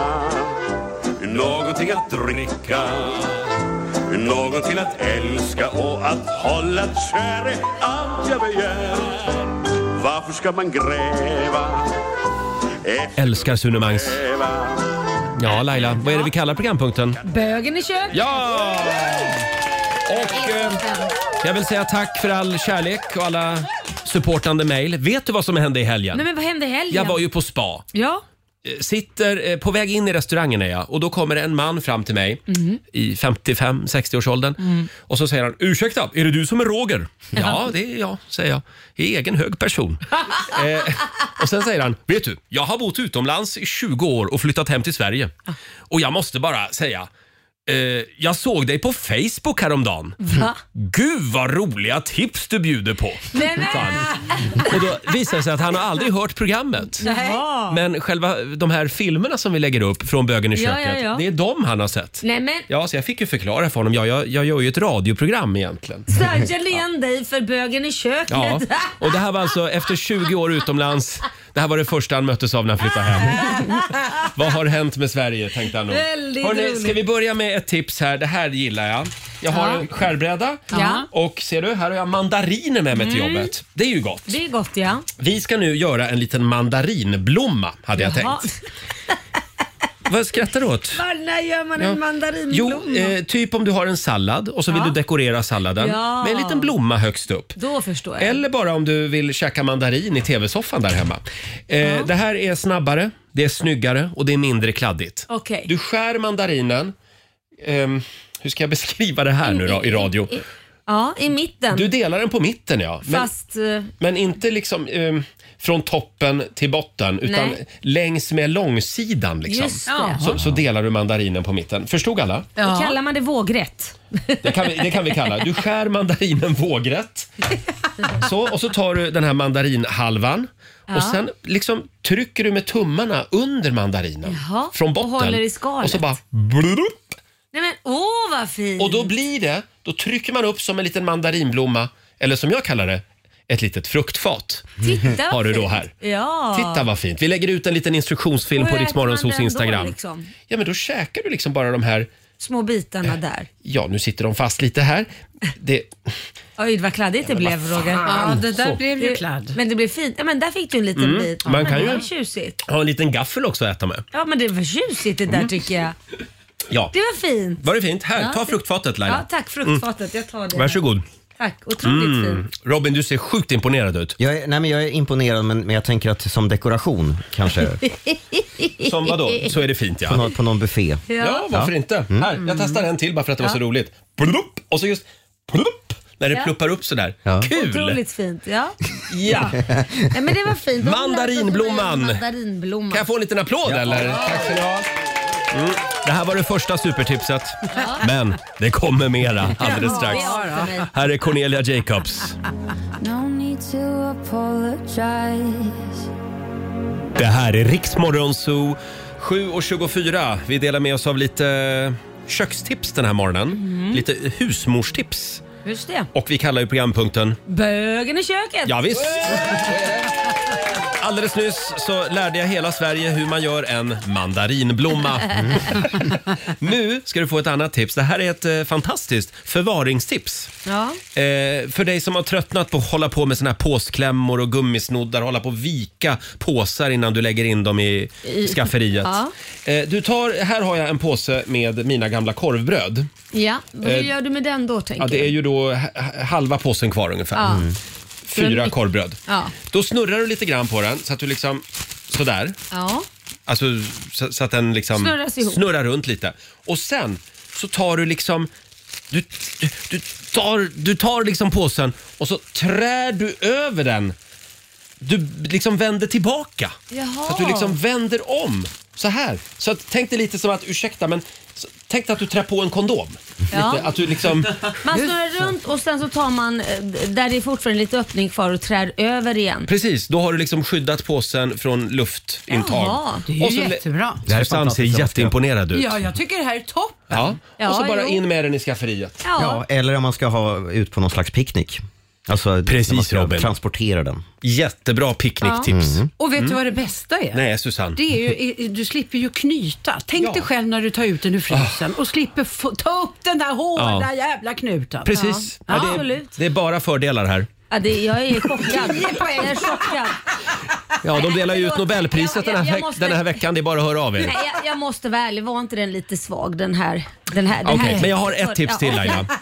någonting att dricka Någonting att älska och att hålla kär är allt jag begär Varför ska man gräva? efter
Älskar Sune Mangs.
gräva?
Ja, Laila. Vad är det vi kallar programpunkten?
Bögen i köket.
Ja! Och eh, jag vill säga tack för all kärlek och alla supportande mejl. Vet du vad som hände i helgen?
Nej, men vad hände i helgen?
Jag var ju på spa.
Ja.
Eh, Sitter eh, på väg in i restaurangen är jag och då kommer en man fram till mig i 55-60-årsåldern och så säger han “Ursäkta, är det du som är Roger?” “Ja, det är jag”, säger jag. I egen hög person. eh, och sen säger han “Vet du, jag har bott utomlands i 20 år och flyttat hem till Sverige och jag måste bara säga Eh, jag såg dig på Facebook häromdagen.
Va?
Gud vad roliga tips du bjuder på.
Nej, nej.
sa han. Och då visade det sig att han har aldrig hört programmet.
Jaha.
Men själva de här filmerna som vi lägger upp från Bögen i
Ja,
köket,
ja, ja.
det är de han har sett.
Nej men,
Ja, så jag fick ju förklara för honom. Ja, jag, jag gör ju ett radioprogram egentligen.
så jag kände igen dig för bögen i köket.
Ja, och det här var alltså efter 20 år utomlands. Det här var det första han möttes av när han flyttade hem. Vad har hänt med Sverige, tänkte han nog.
Väldigt roligt.
ska vi börja med ett tips här. Det här gillar jag. Jag har en skärbräda
Ja. Mm.
och ser du, här har jag mandariner med mig till jobbet. Det är ju gott.
Det är gott ja.
Vi ska nu göra en liten mandarinblomma, hade jag
Ja.
tänkt. Vad skrattar du åt?
Var, när gör man
Ja.
en mandarinblomma?
Jo, eh, typ om du har en sallad och så vill
Ja.
du dekorera salladen
Ja.
med en liten blomma högst upp.
Då förstår jag.
Eller bara om du vill käka mandarin i tv-soffan där hemma. Eh, Det här är snabbare, det är snyggare och det är mindre kladdigt.
Okej.
Du skär mandarinen. ehm, hur ska jag beskriva det här nu då i radio?
Ja, i mitten.
Du delar den på mitten ja. Men,
Fast... eh,
men inte liksom ehm, från toppen till botten utan
Nej.
längs med långsidan liksom.
Just det.
Så, så delar du mandarinen på mitten. Förstod alla?
Då Kallar man det vågrätt?
Det kan, vi, det kan vi kalla. Du skär mandarinen vågrätt. Så, och så tar du den här mandarinhalvan och sen liksom trycker du med tummarna under mandarinen
Jaha,
från
och
botten.
håller i skalet.
Och så bara blup,
Nej men åh vad fint!
Och då blir det, då trycker man upp som en liten mandarinblomma, eller som jag kallar det, ett litet fruktfat.
Titta vad
har du då
fint.
här.
Ja.
Titta vad fint. Vi lägger ut en liten instruktionsfilm
Och
på
hur
Rix
äter man
Morgonzos
den då,
Instagram.
liksom?
Ja, men då käkar du liksom bara de här,
Små bitarna där.
ja nu sitter de fast lite här. Det,
Oj vad kladdigt det blev Roger.
Ja, det där
Så. Mm.
blev ju kladd.
Men det blev fint. Ja, men där fick du en liten bit. Ja,
Man
men
kan
det
ju-
var tjusigt.
ha en liten gaffel också att äta med.
Ja men det var tjusigt det där
Mm.
tycker jag.
Ja.
Det var fint.
Var det fint? Här, ta fruktfatet Laila. Mm.
Ja tack fruktfatet, jag tar det.
Varsågod. Mm.
Tack, otroligt fint.
Robin, du ser sjukt imponerad ut.
Jag är, nej, men jag är imponerad, men, men jag tänker att som dekoration kanske,
Som vadå? Så är det fint
på,
ja.
någon, på någon buffé.
Ja, Mm. varför inte? Här, jag testar en till bara för att det var så roligt. Plupp! Och så just plupp! När det
Ja.
pluppar upp sådär.
Ja.
Kul!
Otroligt fint. Ja.
Ja.
ja men det var fint. De lät oss
Mandarinblomman.
med Mandarinblomman.
Kan jag få en liten applåd eller? Tack ska ni ha. Mm. Det här var det första supertipset. Men det kommer mera alldeles strax.
Ja, för mig.
Här är Cornelia Jacobs. Det här är Riksmorgon Zoo 7.24. Vi delar med oss av lite eh, kökstips den här morgonen. Lite husmorstips.
Just det.
Och vi kallar ju programpunkten
Bögen i köket.
Ja, visst. Alldeles nyss så lärde jag hela Sverige hur man gör en mandarinblomma. nu ska du få ett annat tips. Det här är ett eh, fantastiskt förvaringstips.
Ja.
Eh, för dig som har tröttnat på att hålla på med såna här påsklämmor och gummisnoddar, hålla på och vika påsar innan du lägger in dem i skafferiet.
Ja.
Eh, du tar, här har jag en påse med mina gamla korvbröd.
ja. Vad
Eh,
gör du med den då tänker
Ja, det är ju då h- h- halva påsen kvar ungefär. Mm. Fyra
Men-
korvbröd.
Ja.
Då snurrar du lite grann på den så att du liksom sådär.
jag? Ja.
Alltså så, så att den liksom
Snurras ihop.
snurrar runt lite. Och sen så tar du liksom du, du, du, tar, du tar liksom påsen och så trär du över den. Du liksom vänder tillbaka.
Jaha.
Så att du liksom vänder om. Så här. Så att, tänk dig lite som att, ursäkta men, så, tänk dig att du trär på en kondom.
Ja.
Lite, att du liksom...
Man snurrar runt och sen så tar man eh, där det är fortfarande lite öppning kvar och trär över igen.
Precis, då har du liksom skyddat påsen från luftintag.
Jaha.
Det är ju jättebra.
Det här är Susanne ser
fantastiskt.
jätteimponerad ut.
Ja, jag tycker det här är topp.
Ja.
Ja,
och så bara
jo.
in med den i skafferiet.
Ja.
Ja, eller om man ska ha ut på någon slags picknick. Alltså,
Precis,
när man ska
Robin.
transportera den.
Jättebra picknicktips. Mm.
Och vet du vad det bästa är?
Nej, Susanne.
Det är ju, du slipper ju knyta. Tänk
Ja.
dig själv när du tar ut den ur frysen och slipper få, ta upp den där hårda jävla knuten.
Precis.
Ja.
det, är,
Absolut.
det är bara fördelar här.
Ja, det, jag är chockad. jag är chockad.
Ja, de delar ju ut Nobelpriset den här,
Jag- jag
veck-
måste-
den här veckan. Det är bara att höra av er.
Nej, jag, jag måste vara ärlig, var inte den lite svag den här? Den här, den
Okej,
här
men jag har ett tips till, Laila.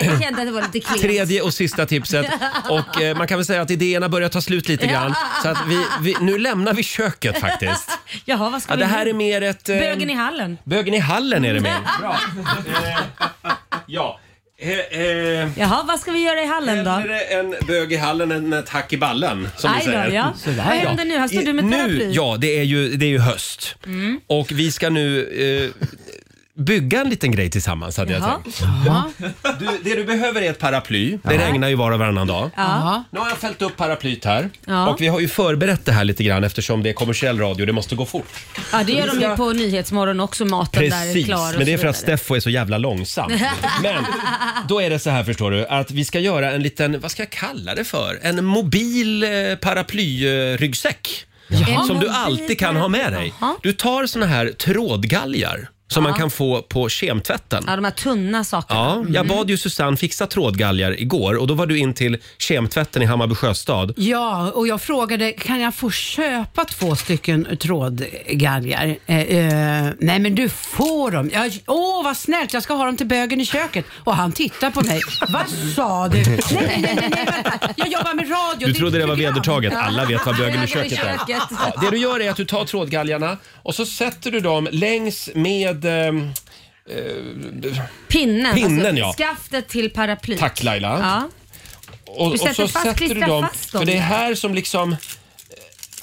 Jag kände att det var lite klent.
Tredje och sista tipset. Och eh, man kan väl säga att idéerna börjar ta slut lite grann. Så att vi, vi, nu lämnar vi köket faktiskt.
Jaha, vad ska
Ja,
vi
det här
nu?
är mer ett... eh,
Bögen i hallen.
Bögen i hallen är det med. ja. Eh, eh,
Jaha, vad ska vi göra i hallen då?
hellre en bög i hallen än ett hack i ballen, som vi
Aj
säger.
då, ja. Vad händer nu? Här står du med Mm.
nu,
paraply.
Ja, det är ju, det är ju höst. Och vi ska nu... Eh, bygga en liten grej tillsammans hade jag
Jaha.
tänkt. Du, det du behöver är ett paraply. Det regnar ju var och varannan dag.
Ja.
Nu har jag fällt upp paraplyt här.
Ja.
Och vi har ju förberett det här lite grann eftersom det är kommersiell radio. Det måste gå fort.
Ja, det gör de ju på Nyhetsmorgon också. Maten där är
Precis,
klar. och
men det är
så
för att
vidare.
Steffo är så jävla långsam. Men då är det så här förstår du, att vi ska göra en liten, vad ska jag kalla det för? En mobil eh, paraplyryggsäck. Som du alltid kan ha med dig.
Jaha.
Du tar såna här trådgalgar som man kan få på kemtvätten.
Ja, Mm. de här tunna sakerna.
Ja, jag bad ju Susanne fixa trådgalgar igår och då var du in till kemtvätten i Hammarby sjöstad.
Ja, och jag frågade, kan jag få köpa två stycken trådgalgar? Eh, eh, nej, men du får dem. Jag- Åh, vad snällt, jag ska ha dem till bögen i köket. Och han tittar på mig. vad sa du? Nej, nej, nej, nej, vänta. Jag jobbar med radio.
Du
är
trodde
ett
det var
program.
vedertaget. Alla vet vad bögen i
Bögen i
köket är.
köket.
Ja, det du gör är att du tar trådgalgarna och så sätter du dem längs med... ehm,
Pinnen. alltså
Pinnen, ja.
Skaftet till paraplyt.
Tack Laila.
Ja.
Och, och
sätter
så
fast-
sätter du
klistrar
dem...
fast dem
För det är
där.
här som liksom eh,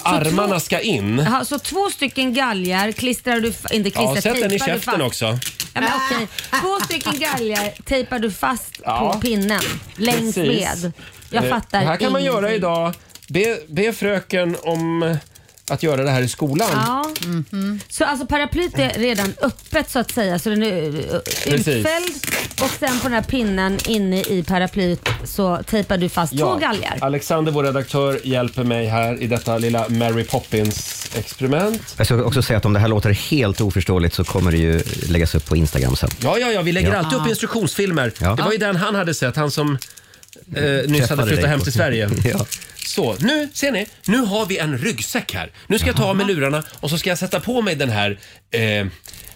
armarna ska in.
Jaha, så två stycken galgar klistrar du, f- inte klistrar,
Ja, sätt den i
tejpar du
käften
fast.
också.
Ja, men okej. Två stycken galgar tejpar du fast
Ja.
på pinnen längs
Precis.
med. Jag
Eh,
fattar
Det här kan man göra
ingenting.
idag. Be, be fröken om eh, att göra det här i skolan.
Ja.
Mhm.
Så alltså paraplyet är redan öppet så att säga, så den är eh, utfälld och sen på den här pinnen inne i paraplyet så tejpar du fast två galgar.
Alexander, vår redaktör, hjälper mig här i detta lilla Mary Poppins-experiment.
Jag ska också säga att om det här låter helt oförståeligt så kommer det ju läggas upp på Instagram sen.
Ja, ja, ja, vi lägger alltid upp instruktionsfilmer.
Ah. Ja.
Det var ju den han hade sett, han som eh, nyss hade
Träffade
flyttat
dig
hem
på-
till Sverige.
Ja.
Så, nu ser ni. Nu har vi en ryggsäck här. Nu ska jag ta av mig lurarna och så ska jag sätta på mig den här eh,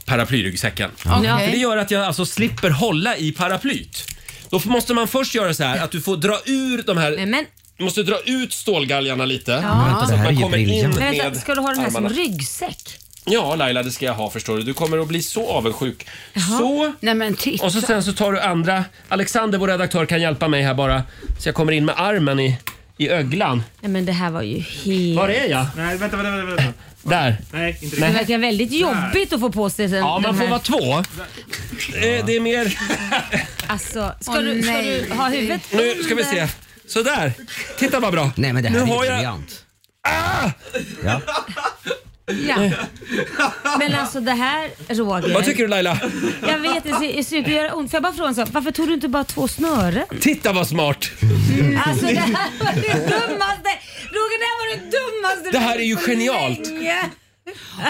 paraplyryggsäcken.
Ja.
För det gör att jag alltså slipper hålla i paraplyt. Då får- måste man först göra så här att du får dra ur de här...
Nej, men,
Du måste dra ut stålgalgarna lite.
Vänta, det
Så att
här är
man
ju
kommer in
briljant.
men
med
vänta, ska du ha den här
armarna.
som ryggsäck?
Ja, Laila, det ska jag ha förstår du. Du kommer att bli så avundsjuk. Så.
Nej, men titta.
Och så sen så tar du andra. Alexander, vår redaktör, kan hjälpa mig här bara. Så jag kommer in med armen i, i öglan.
Nej men det här var ju helt...
Var är jag?
Nej, vänta, vänta, vänta. vänta.
Där.
Nej, inte
Det
riktigt.
verkar väldigt jobbigt att få på sig den,
Ja, man
den
får
här.
vara två. Eh, Det är mer...
Alltså, ska,
Åh,
du, ska
nej.
du ha huvudet
Nu ska vi se. Så där. Titta vad bra.
Nej men det här
nu
är ju
har jag...
briljant.
Ja. Men alltså det här Roger.
Vad tycker du Laila?
Jag vet, det ser- det ser ut att göra ont. För jag bara fråga en sak. Varför tog du inte bara två snören?
Titta vad smart.
Alltså det här var det dummaste. Roger det här var det dummaste.
Det här är ju
på
genialt.
länge.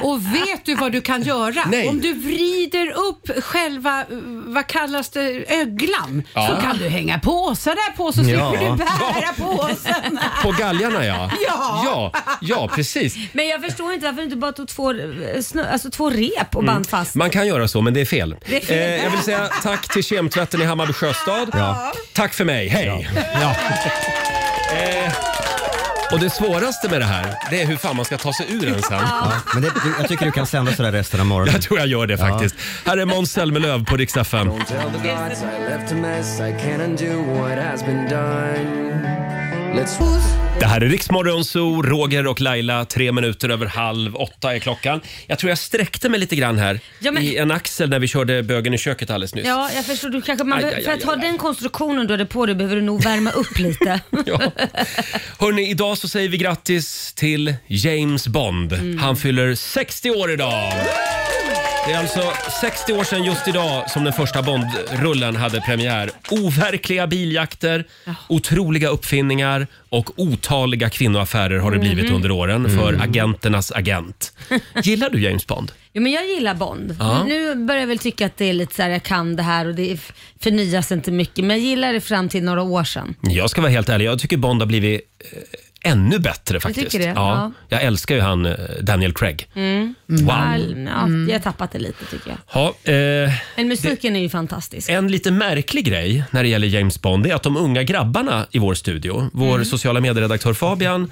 Och vet du vad du kan göra?
Nej.
Om du vrider upp själva, eh, vad kallas det, öglan,
Ja.
så kan du hänga påsar där på så slipper
Ja.
du bära påsen.
På galgarna ja.
Ja.
Ja, ja precis.
Men jag förstår inte varför du inte bara tog två, eh, snö, alltså två rep och
Mm.
band fast.
Man kan göra så, men det är fel.
Det är fel.
Eh, jag vill säga tack till kemtvätten i Hammarby sjöstad. Tack för mig, hej! Eh, och det svåraste med det här, det är hur fan man ska ta sig ur den sen.
Ja, men det, du- jag tycker du kan sända sådär resten av morgonen.
Jag tror jag gör det faktiskt. Här är Måns Zelmerlöw på Rix FM.
Tell the gods I left a mess. I can't undo what has been done. Let's.
Det här är Riksmorgon Zoo, Roger och Laila. Tre minuter över halv åtta är klockan. Jag tror jag sträckte mig lite grann här
Ja, men-
i en axel när vi körde Bögen i köket alldeles nyss.
Ja, jag förstår. Du kanske, man
Aj,
behöver-
aj,
för
aj,
att ha
aj,
den konstruktionen du hade på dig behöver du nog värma upp lite.
Ja. Hörrni, idag så säger vi grattis till James Bond.
Mm.
Han fyller 60 år idag. Det är alltså 60 år sedan just idag som den första Bond-rullen hade premiär. Overkliga biljakter, otroliga uppfinningar och otaliga kvinnoaffärer har det blivit
Mhm.
under åren
Mm.
för agenternas agent. Gillar du James Bond?
Jo, men jag gillar Bond.
Ja.
Nu börjar jag väl tycka att det är lite så här, jag kan det här och det är- förnyas inte mycket. Men jag gillar det fram till några år sedan.
Jag ska vara helt ärlig, jag tycker Bond har blivit eh, ännu bättre faktiskt.
tycker det? Mm.
Ja. Jag älskar ju han eh, Daniel Craig. Wow.
All, ja,
Mm.
Jag har tappat det lite tycker jag.
Ja, eh,
Men musiken är ju fantastisk.
en lite märklig grej när det gäller James Bond det är att de unga grabbarna i vår studio, vår
Mm.
sociala medieredaktör Fabian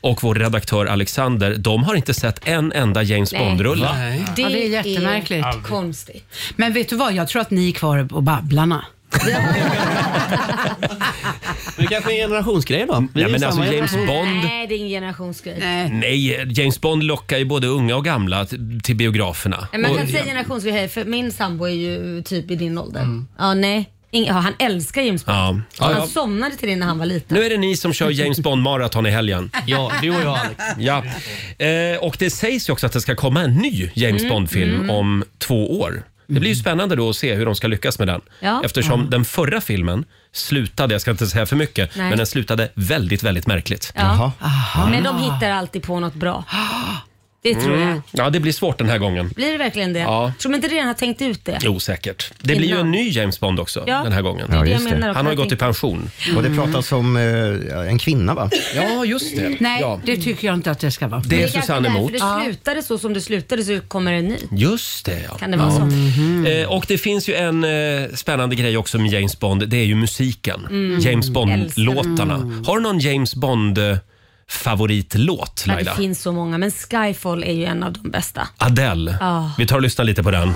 och vår redaktör Alexander, de har inte sett en enda James
Nej.
Bond-rulle.
Ja, det är jättemärkligt.
konstigt.
Men vet du vad, jag tror att ni är kvar och babblarna.
Det kanske är en generationsgrej då? Vi
Ja,
är
men
samma
alltså, James
generation.
Nej, det är ingen generationsgrej.
Nej, James Bond lockar ju både unga och gamla t- till biograferna.
Men Man
Och-
kan säga generationsgrej här, för min sambo är ju typ i din ålder. Ja, nej. Ing- ja, han älskar James Bond.
Ja. Mm. Ja,
han
ja.
somnade till det när han var liten.
Nu är det ni som kör James Bond-maraton i helgen.
Ja, du och jag Alex.
Ja. Eh, och det sägs ju också att det ska komma en ny James
Mm,
Bond-film
mm.
om två år. Det blir ju spännande då att se hur de ska lyckas med den.
Ja.
Eftersom
Ja.
den förra filmen slutade, jag ska inte säga för mycket,
Nej.
men den slutade väldigt, väldigt märkligt.
Ja. Men de hittar alltid på något bra. Det tror
Mm.
jag.
Ja, det blir svårt den här gången.
Blir det verkligen det?
Ja.
Tror de inte redan har tänkt ut det?
Jo, säkert. Det blir ju en ny James Bond också
Ja,
den här gången.
det är det jag menar också.
Han har ju gått
Jag
i
tänkte-
pension.
Och det
Mm.
pratas om eh, en kvinna va?
Ja, just det.
Nej,
Ja.
det tycker jag inte att det ska vara.
Det är Susanne emot.
Därför det slutade så som det slutade så kommer en ny.
Just det, ja.
Kan det vara så? Mhm.
Eh, och det finns ju en eh, spännande grej också med James Bond. Det är ju musiken.
Mm.
James Bond-låtarna.
Älskar
Har du någon James Bond-favoritlåt,
Ja, det
Laila?
finns så många, men Skyfall är ju en av de bästa.
Adele.
Ja.
Vi tar och lyssnar lite på den.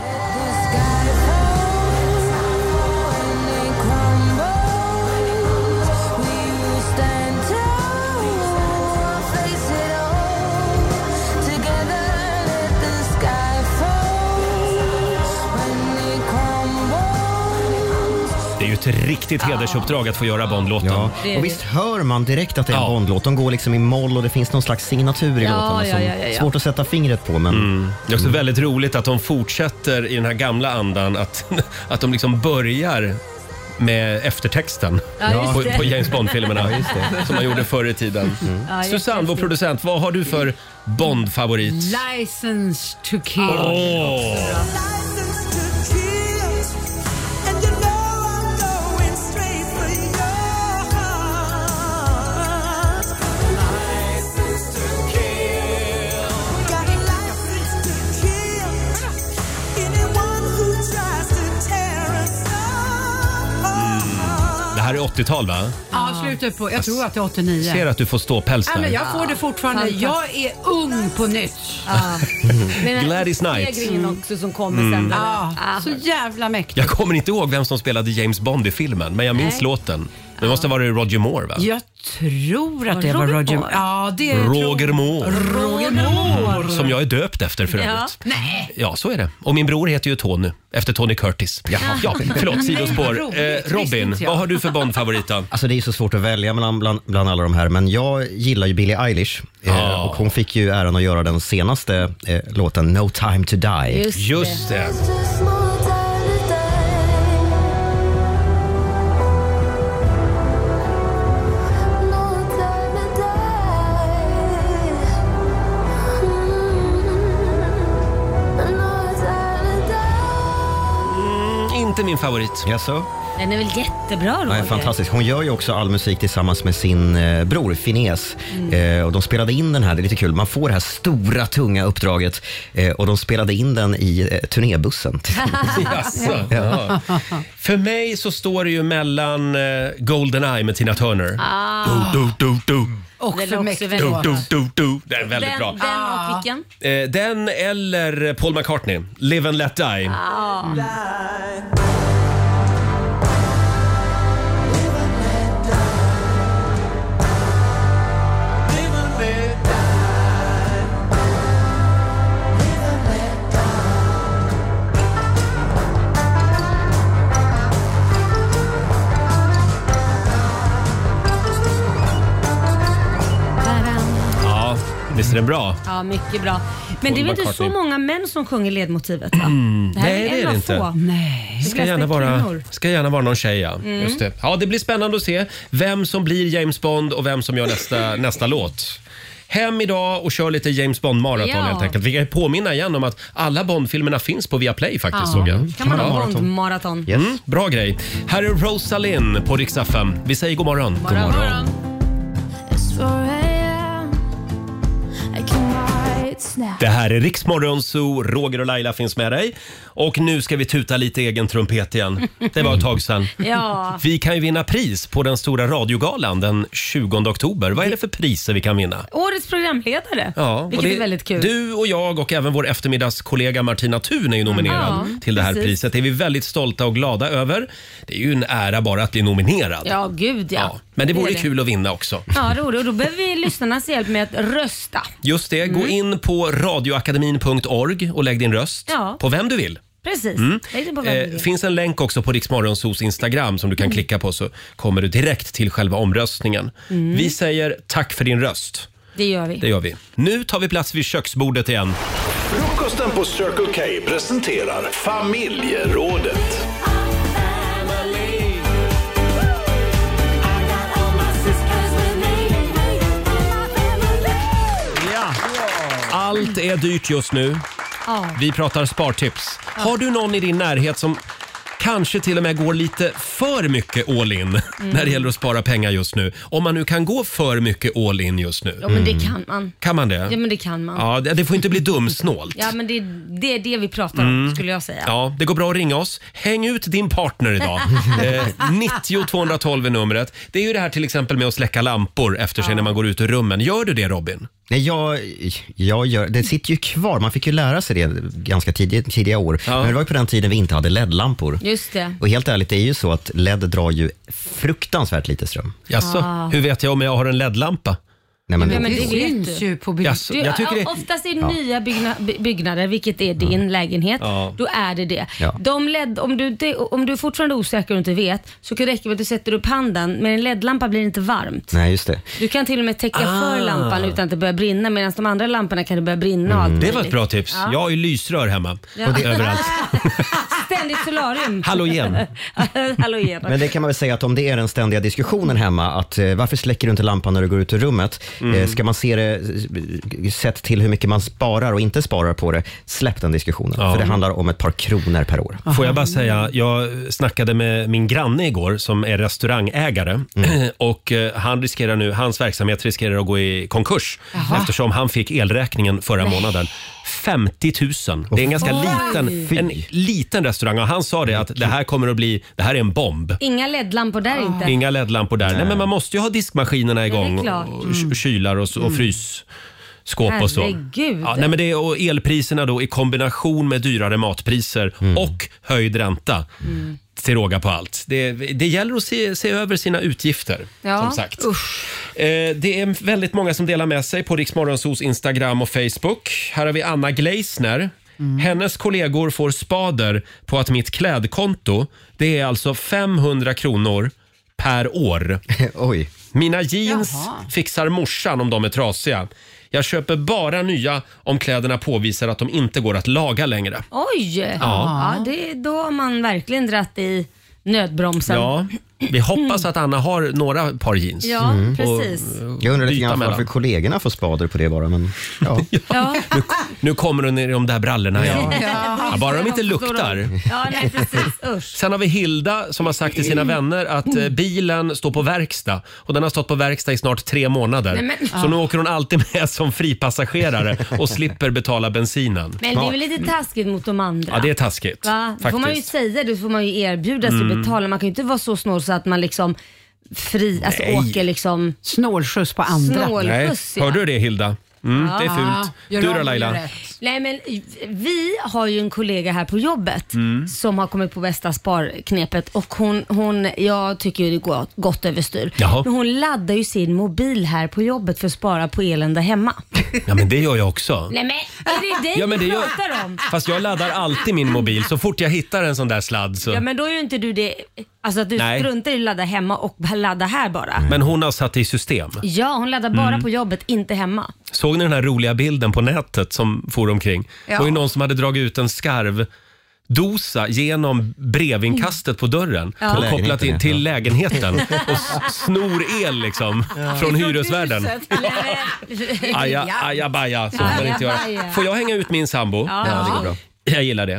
Det är ju ett riktigt hedersuppdrag att få göra Bondlåten.
Ja. Och visst hör man direkt att det är en Bondlåt? De går liksom i moll och det finns någon slags signatur i
Ja,
låtarna
ja,
som
ja, ja, ja.
svårt att sätta fingret på. Men...
Det är också väldigt roligt att de fortsätter i den här gamla andan att, att de liksom börjar med eftertexten
Ja, just
på,
det.
på James Bond-filmerna
Ja, just det.
som man gjorde förr i tiden.
Ja,
Susanne, vår producent, vad har du för Bond-favorit?
License to kill.
Åh. Det här är 80-tal va?
Ja, slutet på, jag tror att det är 89.
Ser att du får ståpäls
Ja,
där.
men jag får det fortfarande.
Fantastiskt.
Jag är ung på nytt.
Men
Gladys Knight.
Stegringen också som kommer
Mm.
sen. där.
Ja, Så jävla mäktigt.
Jag kommer inte ihåg vem som spelade James Bond i filmen, men jag minns
Nej.
låten. Det måste ha varit Roger Moore va?
Jag tror att det var
Roger
Roger
Moore?
Moore. Ja, det
Roger Moore.
Roger Moore.
Som jag är döpt efter för övrigt.
Ja. Nej.
Ja, så är det. Och min bror heter ju Tony, efter Tony Curtis.
Jaha.
Ja, förlåt,
Nej,
sidospår.
vad
Eh,
roligt. Visste
Robin,
inte jag.
vad har du för Bond-favorit då?
Alltså det är så svårt att välja mellan, bland, bland alla de här, men jag gillar ju Billie Eilish. Eh,
Ja.
Och hon fick ju äran att göra den senaste eh, låten No time to die.
Just det. Just det. Inte min favorit.
Jaså?
Den är väl jättebra Roger?
Nej, fantastiskt. Hon gör ju också all musik tillsammans med sin eh, bror Finneas.
Mm.
Eh, och de spelade in den här, det är lite kul, man får det här stora tunga uppdraget eh, och de spelade in den i eh, turnébussen.
Jaså? Ja. För mig så står det ju mellan eh, Goldeneye med Tina Turner.
Ah.
Do, do, do, do.
Den är
Också
också
mäktigt.
väldigt bra.
Do, do, do. Det är väldigt
den,
bra.
Den och vilken?
Eh, den eller Paul McCartney, Live and Let Die.
Ja.
Ja, visst är den bra?
Ja, mycket bra. Men
Paul
det är väl inte så
McCartney. Mm.
många män som sjunger ledmotivet? Va? Det här
Nej, det
är
är
en
det
av
inte.
få. Nej.
Ska gärna, vara, ska gärna vara någon tjej, ja.
Mm.
Just det. ja. Det blir spännande att se vem som blir James Bond och vem som gör nästa, nästa låt. Hem idag och kör lite James Bond-maraton
Ja.
helt enkelt. Vi kan påminna igen om att alla Bond-filmerna finns på Viaplay faktiskt såg jag.
Kan man
Ja.
ha Bond-maraton?
Mm, bra grej. Här är Rosalind på Rix FM. Vi säger god morgon. God morgon.
It's 4 a.m. I can write
Det här är Riksmorgon Zoo, Roger och Laila finns med dig. Och nu ska vi tuta lite egen trumpet igen. Det var ett tag sedan.
Ja.
Vi kan ju vinna pris på den stora radiogalan den 20 oktober. Vad är det för priser vi kan vinna?
Årets programledare,
Ja, och
vilket
det-
är väldigt kul.
Du och jag och även vår eftermiddagskollega Martina Thun är ju nominerad
Ja,
till det här
precis.
priset. Det är vi väldigt stolta och glada över. Det är ju en ära bara att bli nominerad.
Ja, gud ja.
Men det
är
vore kul att vinna också.
Ja, det vore det. Och då behöver vi lyssnarnas hjälp med att rösta.
Just det,
Mm.
gå in på radioakademin.org och lägg din röst
Ja.
på vem du vill.
Precis.
Mm.
Lägg det på vem du
Eh,
vill.
finns en länk också på Riksmorgonsos Instagram som du kan klicka på så kommer du direkt till själva omröstningen.
Mm.
Vi säger tack för din röst.
Det gör vi.
Det gör vi. Nu tar vi plats vid köksbordet igen.
Frukosten på Circle K presenterar familjerådet.
Allt är dyrt just nu.
Ja.
Vi pratar spartips. Har du någon i din närhet som kanske till och med går lite för mycket all in
Mm.
när det gäller att spara pengar just nu? Om man nu kan gå för mycket all in just nu.
Ja, men det kan man.
Kan man det?
Ja, men det kan man.
Ja, det, det får inte bli dumsnålt.
Ja, men det, det är det vi pratar om
Mm.
skulle jag säga.
Ja, det går bra att ringa oss. Häng ut din partner idag. Eh, 90 212 är numret. Det är ju det här till exempel med att släcka lampor efter sig när man går ut ur rummen. Gör du det Robin?
Nej, jag, jag gör, det sitter ju kvar. Man fick ju lära sig det ganska tidiga, tidiga år. Men det var ju på den tiden vi inte hade LED-lampor.
Just det.
Och helt ärligt, det är ju så att LED drar ju fruktansvärt lite ström.
Jaså, Ah. hur
vet jag om jag har en LED-lampa?
Nej, men,
Ja, men
det-
det
syns
vet du.
ju på bild.
Jaså, jag tycker det-
Oftast i
Ja. Mm.
nya byggna, by- byggnader, vilket är din lägenhet,
Ja.
då är det det.
Ja.
De LED, om, du, det- om du är fortfarande osäker och inte vet så kan det räcka med att du sätter upp handen. Med en LED-lampa blir det inte varmt.
Nej, just det.
Du kan till och med täcka
Ah.
för lampan utan att det börjar brinna medan de andra lamporna kan det börja brinna och
Mm,
allt
Det var ett
möjligt.
bra tips.
Ja.
Jag har ju lysrör hemma.
Ja.
Och det är överallt.
Ah, Ständigt solarium.
Halogen.
Halogen.
men det kan man väl säga att om det är den ständiga diskussionen hemma, att eh, varför släcker du inte lampan när du går ut ur rummet?
Mm.
Eh, ska man se det eh, sett till hur mycket man sparar och inte sparar på det? Släpp den diskussionen, för det handlar om ett par kronor per år.
Får jag bara säga, jag snackade med min granne igår som är restaurangägare och eh, han riskerar nu, hans verksamhet riskerar att gå i konkurs eftersom han fick elräkningen förra
Nej.
månaden. 50 000. Det är en ganska
Oj.
liten, en liten restaurang och han sa det att det här kommer att bli, det här är en bomb.
Inga LED-lampor
Ah.
där inte.
Inga LED-lampor där. Nej, men man måste ju ha diskmaskinerna igång
klart.
och k- kylar och, s- och
Mm.
frysskåp och så.
Herregud.
Ja, nej, men det, och elpriserna då i kombination med dyrare matpriser och höjd ränta till råga på allt. Det, det gäller att se, se över sina utgifter.
Ja,
som sagt. Eh, det är väldigt många som delar med sig på Riksmorgonsos Instagram och Facebook. Här har vi Anna Gleisner. Hennes kollegor får spader på att mitt klädkonto, det är alltså 500 kronor per år.
Oj.
Mina jeans
Jaha.
fixar morsan om de är trasiga. Jag köper bara nya om kläderna påvisar att de inte går att laga längre.
Oj! Ja.
Ja.
det, då har man verkligen dratt i nödbromsen.
Ja, vi hoppas att Anna har några par jeans.
Ja, Mm. precis.
Jag undrar lite grann
mellan.
varför kollegorna får spader på det bara, men ja.
Ja.
Nu, nu kommer hon ner i de där brallorna igen.
Ja.
Ja, bara de inte luktar.
Ja, nej, precis. Usch.
Sen har vi Hilda som har sagt till sina vänner att eh, bilen står på verkstad och den har stått på verkstad i snart tre månader.
Nej, men-
Så nu åker hon alltid med som fripassagerare och slipper betala bensinen.
Men det är väl lite taskigt mot de andra?
Ja, det är taskigt.
Va? Då får man ju
Faktiskt.
säga det, då får man ju erbjuda sig
Mm.
att betala. Man kan ju inte vara så snål så att man liksom fri, alltså
Nej.
åker liksom...
Snålskjuts på andra.
Nej.
Snålskjuts ja.
Hörde du det Hilda? Mm,
Ja.
Det är fult.
Ah, Gör
Du
om
då
och gör
Laila?
rätt. Nej men vi har ju en kollega här på jobbet
Mm.
som har kommit på bästa sparknepet och hon, hon jag tycker ju det går gott överstyr.
Jaha.
Men hon laddar ju sin mobil här på jobbet för att spara på elen där hemma.
Ja men det gör jag också.
Nej men är det dig
Ja, men det
vi
gör-
pratar om?
Fast jag laddar alltid min mobil så fort jag hittar en sån där sladd så.
Ja
men...
men då är ju inte du det, alltså att du
Nej.
struntar i att ladda hemma och ladda här bara.
hon har satt det i system.
Ja, hon laddar bara
Mm.
på jobbet, inte hemma.
Såg ni den här roliga bilden på nätet som for omkring?
Ja.
Det var ju någon som hade dragit ut en skarvdosa genom brevinkastet på dörren
Ja.
och
Till
kopplat in
lägenheten,
till
ja.
lägenheten och s- snor el liksom från hyresvärden. Aja, aja baja, så får man inte göra.
Ajabaja.
Får jag hänga ut min sambo?
Ja. Ja, det går bra.
Jag gillar det.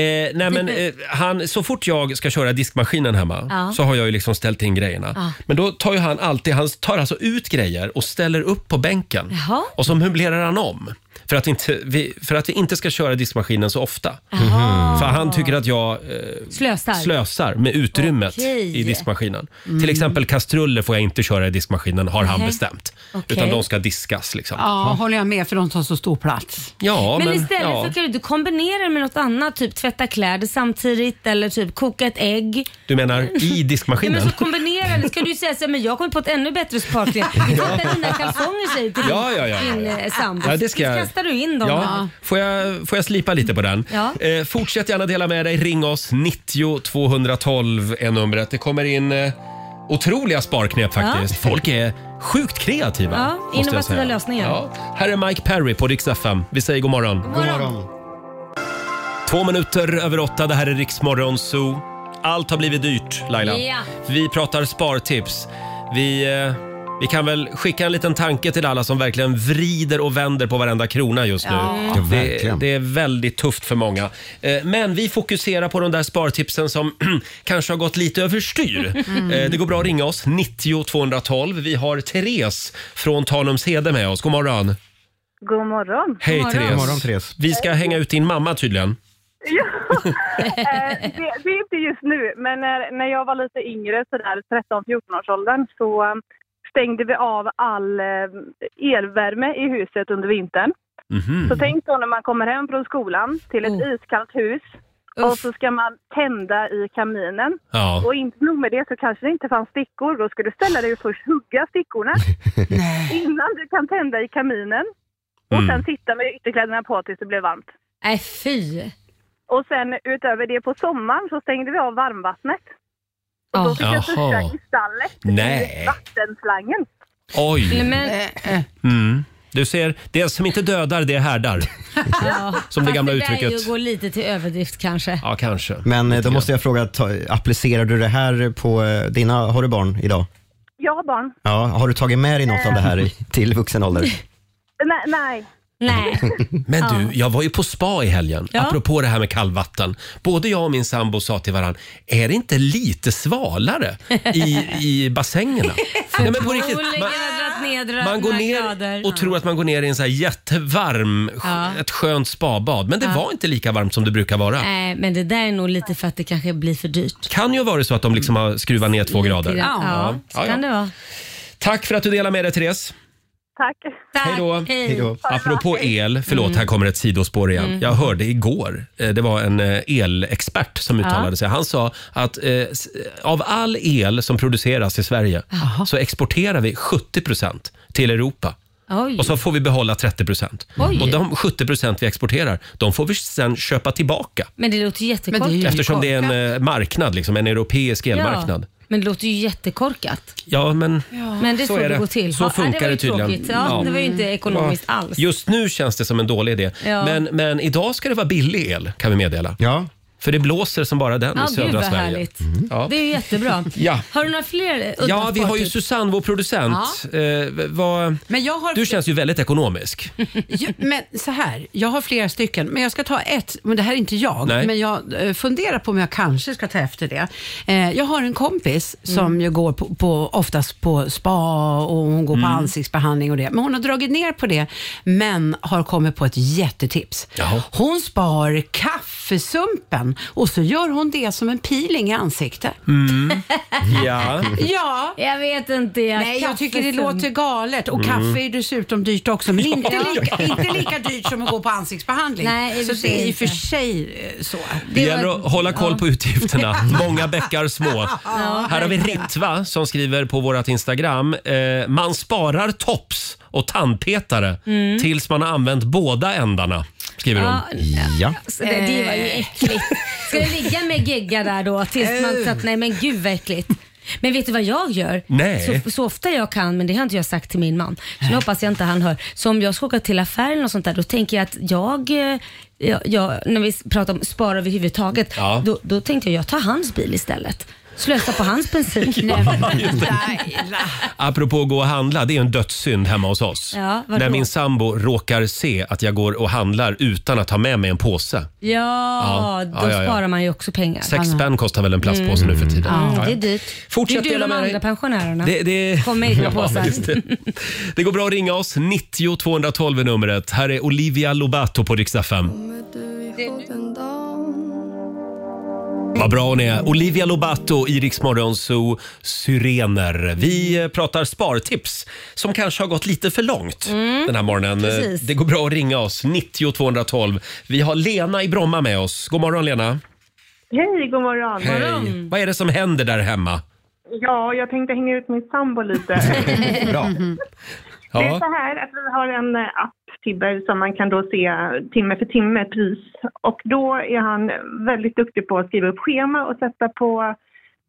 Eh, nej men, eh, han, så fort jag ska köra diskmaskinen hemma
Ja.
så har jag ju liksom ställt in grejerna.
Ja.
Men då tar ju han alltid, han tar alltså ut grejer och ställer upp på bänken. Och så möblerar han om. För att, inte, vi, för att vi inte ska köra diskmaskinen så ofta.
Aha.
För han tycker att jag eh,
Slösar.
slösar med utrymmet
Okej.
i diskmaskinen.
Mm.
Till exempel kastruller får jag inte köra i diskmaskinen, har han
Nej.
bestämt.
Okej.
Utan de ska diskas liksom.
Ja, håller jag med för de tar så stor plats.
Ja,
men,
men,
istället
ja.
så kan du inte kombinera det med något annat, typ tvätta kläder samtidigt eller typ koka ett ägg.
Du menar i
Ja, men
diskmaskinen?
så kombinera det. Ska du säga så här, men jag kommer på ett ännu bättre party. Tvätta dina kalsonger säger du till
Ja, ja, ja, ja,
din eh, sambo.
Ja, det ska jag.
Kastar du in dem?
Ja. Får, jag, får jag slipa lite på den?
Ja.
Eh, fortsätt gärna dela med dig. Ring oss. 90 212 är numret. Det kommer in eh, otroliga sparknep faktiskt.
Ja.
Folk är sjukt kreativa.
Ja,
måste jag
innovativa
säga.
lösningar.
Ja. Här är Mike Perry på Rix FM. Vi säger god morgon.
God morgon.
Två minuter över åtta. Det här är Rix Morgon Zoo. Allt har blivit dyrt, Laila.
Ja.
Vi pratar spartips. Vi, eh, vi kan väl skicka en liten tanke till alla som verkligen vrider och vänder på varenda krona just nu.
Ja. Ja,
det,
verkligen.
det är väldigt tufft för många. Eh, Men vi fokuserar på de där spartipsen som kanske har gått lite överstyr.
Mm.
Eh, Det går bra att ringa oss, 90 212. Vi har Therese från Tanumshede med oss. God morgon.
God morgon.
Hej Therese. Vi ska hänga ut din mamma tydligen.
Ja. Eh, det, det är inte just nu, men när, när jag var lite yngre, sådär 13-14-årsåldern, så eh, stängde vi av all eh, elvärme i huset under vintern. Så tänk då när man kommer hem från skolan till ett iskallt hus och så ska man tända i kaminen.
Ja.
Och inte nog med det så kanske det inte fanns stickor. Då ska du ställa dig och först hugga stickorna innan du kan tända i kaminen. Och
Mm.
sen sitta med ytterkläderna på tills det blev varmt.
Nej, fy.
Och sen utöver det på sommaren så stängde vi av varmvattnet. Och då fick jag
Jaha.
duscha i stallet
Nej.
i vattenslangen.
Oj!
Men,
Mm. Du ser, det som inte dödar det härdar.
ja.
Som det gamla
Fast Det där är ju
uttrycket.
att gå lite till överdrift kanske.
Ja, kanske.
Men eh, då måste jag fråga, ta, applicerar du det här på eh, dina, har du barn idag?
Jag har barn.
Ja, har du tagit med dig något av det här i- till vuxen ålder?
Nej. nej.
Men
Ja.
du, jag var ju på spa i helgen,
Ja.
apropå det här med kallvatten. Både jag och min sambo sa till varandra, är det inte lite svalare i, i bassängerna? Nej, men på riktigt,
Oläggen
man,
har dragit ner dra-
man går
några
ner
grader.
och tror att man går ner i en så här jättevarm,
Ja.
ett skönt spabad. Men det
Ja.
var inte lika varmt som det brukar vara.
Nej, men det där är nog lite för att det kanske blir för dyrt.
Kan ju vara så att de liksom har skruvat ner två grader.
Ja, ja. så
Ja, ja.
kan det vara.
Tack för att du delar med dig Therese.
Tack.
Hej då.
Hej då.
Apropå el, förlåt
Mm.
här kommer ett sidospår igen.
Mm.
Jag hörde igår, eh, det var en eh, elexpert som
Ja.
uttalade sig. Han sa att eh, s- av all el som produceras i Sverige så exporterar vi 70 procent till Europa.
Oj.
Och så får vi behålla 30 procent.
Oj.
Och de 70 procent vi exporterar, de får vi sen köpa tillbaka.
Men det låter ju jättekorkat.
Eftersom det är en eh, marknad, liksom, en europeisk elmarknad.
Ja, men det låter ju jättekorkat.
Ja, men,
Men det är så,
är
det går till.
Så
Ja,
funkar
det, var ju
det tydligen.
tråkigt. Ja,
Ja.
Det var ju inte ekonomiskt
Ja.
alls.
Just nu känns det som en dålig idé.
Ja.
Men, men idag ska det vara billig el kan vi meddela. Ja. För det blåser som bara den
Ja,
i södra
gud vad
Sverige. Mm.
härligt.
Ja.
Det är ju jättebra.
Ja.
Har du några fler udda
ja, vi har ju
spartips?
Susanne, vår producent. Eh, vad...
Men jag har
Du känns ju väldigt ekonomisk.
Ja, men så här, jag har flera stycken, men jag ska ta ett. Men det här är inte jag,
Nej.
men jag eh, funderar på om jag kanske ska ta efter det. Eh, jag har en kompis
Mm.
som ju går på, på, oftast på spa och hon går
Mm.
på ansiktsbehandling och det. Men hon har dragit ner på det, men har kommit på ett jättetips. Hon spar kaffesumpen och så gör hon det som en peeling i ansiktet.
Mm. Ja.
Ja.
Jag vet inte. Jag
Nej, jag tycker det
Kaffesump.
låter galet. Och
Mm.
kaffe är dessutom dyrt också, men inte,
Ja.
lika, inte lika dyrt som att gå på ansiktsbehandling.
Nej, i och för
så
sig
det är i och
inte.
för sig eh, så.
Det gäller att hålla koll på utgifterna. Många bäckar små. Här har vi Ritva som skriver på vårt Instagram. Eh, man sparar tops och tandpetare
Mm.
tills man har använt båda ändarna. Skriver hon.
Ja,
Ja.
Så det, det var ju äckligt. Ska det ligga med gegga där då tills man så att nej men gud vad äckligt. Men vet du vad jag gör?
Nej. Eh.
Så, så ofta jag kan, men det har inte jag sagt till min man. Så nu hoppas jag inte han hör. Så om jag ska åka till affären och sånt där, då tänker jag att jag, eh, jag, jag när vi pratar om spara överhuvudtaget,
Ja.
då, då tänkte jag jag tar hans bil istället. slösa på hans bensin. Nej, men- Laila.
Apropå att gå och handla, det är en dödssynd hemma hos oss.
Ja, vadå?
När min sambo råkar se att jag går och handlar utan att ha med mig en påse.
Ja,
Ja,
då
ja, ja, ja.
sparar man ju också pengar.
Sex spänn kostar väl en plastpåse nu för tiden?
Mm. Ja,
Ja,
det är
ja.
dyrt.
Fortsätt
det är du
dela
och de
med dig.
andra pensionärerna.
Det, det...
Kom med egna
Ja,
påsar.
visst. Det går bra att ringa oss. 90 212 är numret. Här är Olivia Lobato på Rix FM. Vad bra hon är. Olivia Lobato i Rix Morgon Zoo, Syrener. Vi eh, pratar spartips som kanske har gått lite för långt
Mm,
den här morgonen. Eh,
precis.
Det går bra att ringa oss, 90 212. Vi har Lena i Bromma med oss. God morgon Lena.
Hej, god morgon.
Hej. Vad är det som händer där hemma?
Ja, jag tänkte hänga ut min sambo lite.
Bra.
Det är
Ja.
så här att vi har en eh, app, Tibber, som man kan då se timme för timme pris. Och då är han väldigt duktig på att skriva upp schema och sätta på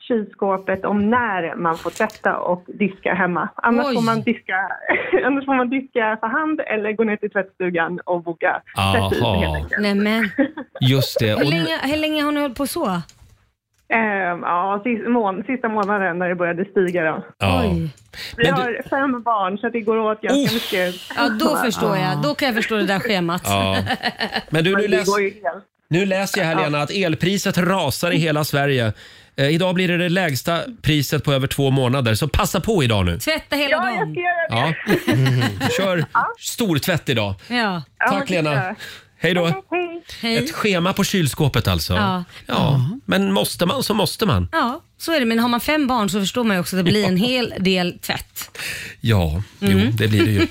kylskåpet om när man får tvätta och diska hemma. Annars
Oj.
får, man diska, annars får man diska för hand eller gå ner till tvättstugan och boka tvätt ut helt
Aha.
enkelt.
Nej, men.
Just det.
Hur
Och-
länge, hur länge har ni hållit på så?
Ehm, ja, sista, mån- sista månaden när det började stiga då.
Ja.
Vi har fem barn så att det går åt ganska mycket.
Ja, då förstår jag. Då kan jag förstå det där schemat.
Ja. Men du, nu,
Det
läs,
går ju helt.
nu läser jag här Lena att elpriset rasar i hela Sverige. Eh, idag blir det det lägsta priset på över två månader, så passa på idag nu.
Tvätta hela dagen. Ja, jag
ska göra
Ja. Kör stortvätt idag.
Ja.
Tack Lena. Hej då.
Hej.
Ett schema på kylskåpet alltså.
Ja.
ja. Men måste man så måste man.
Ja, så är det. Men har man fem barn så förstår man ju också att det blir en hel del tvätt.
Ja, jo,
Mm.
det blir det ju.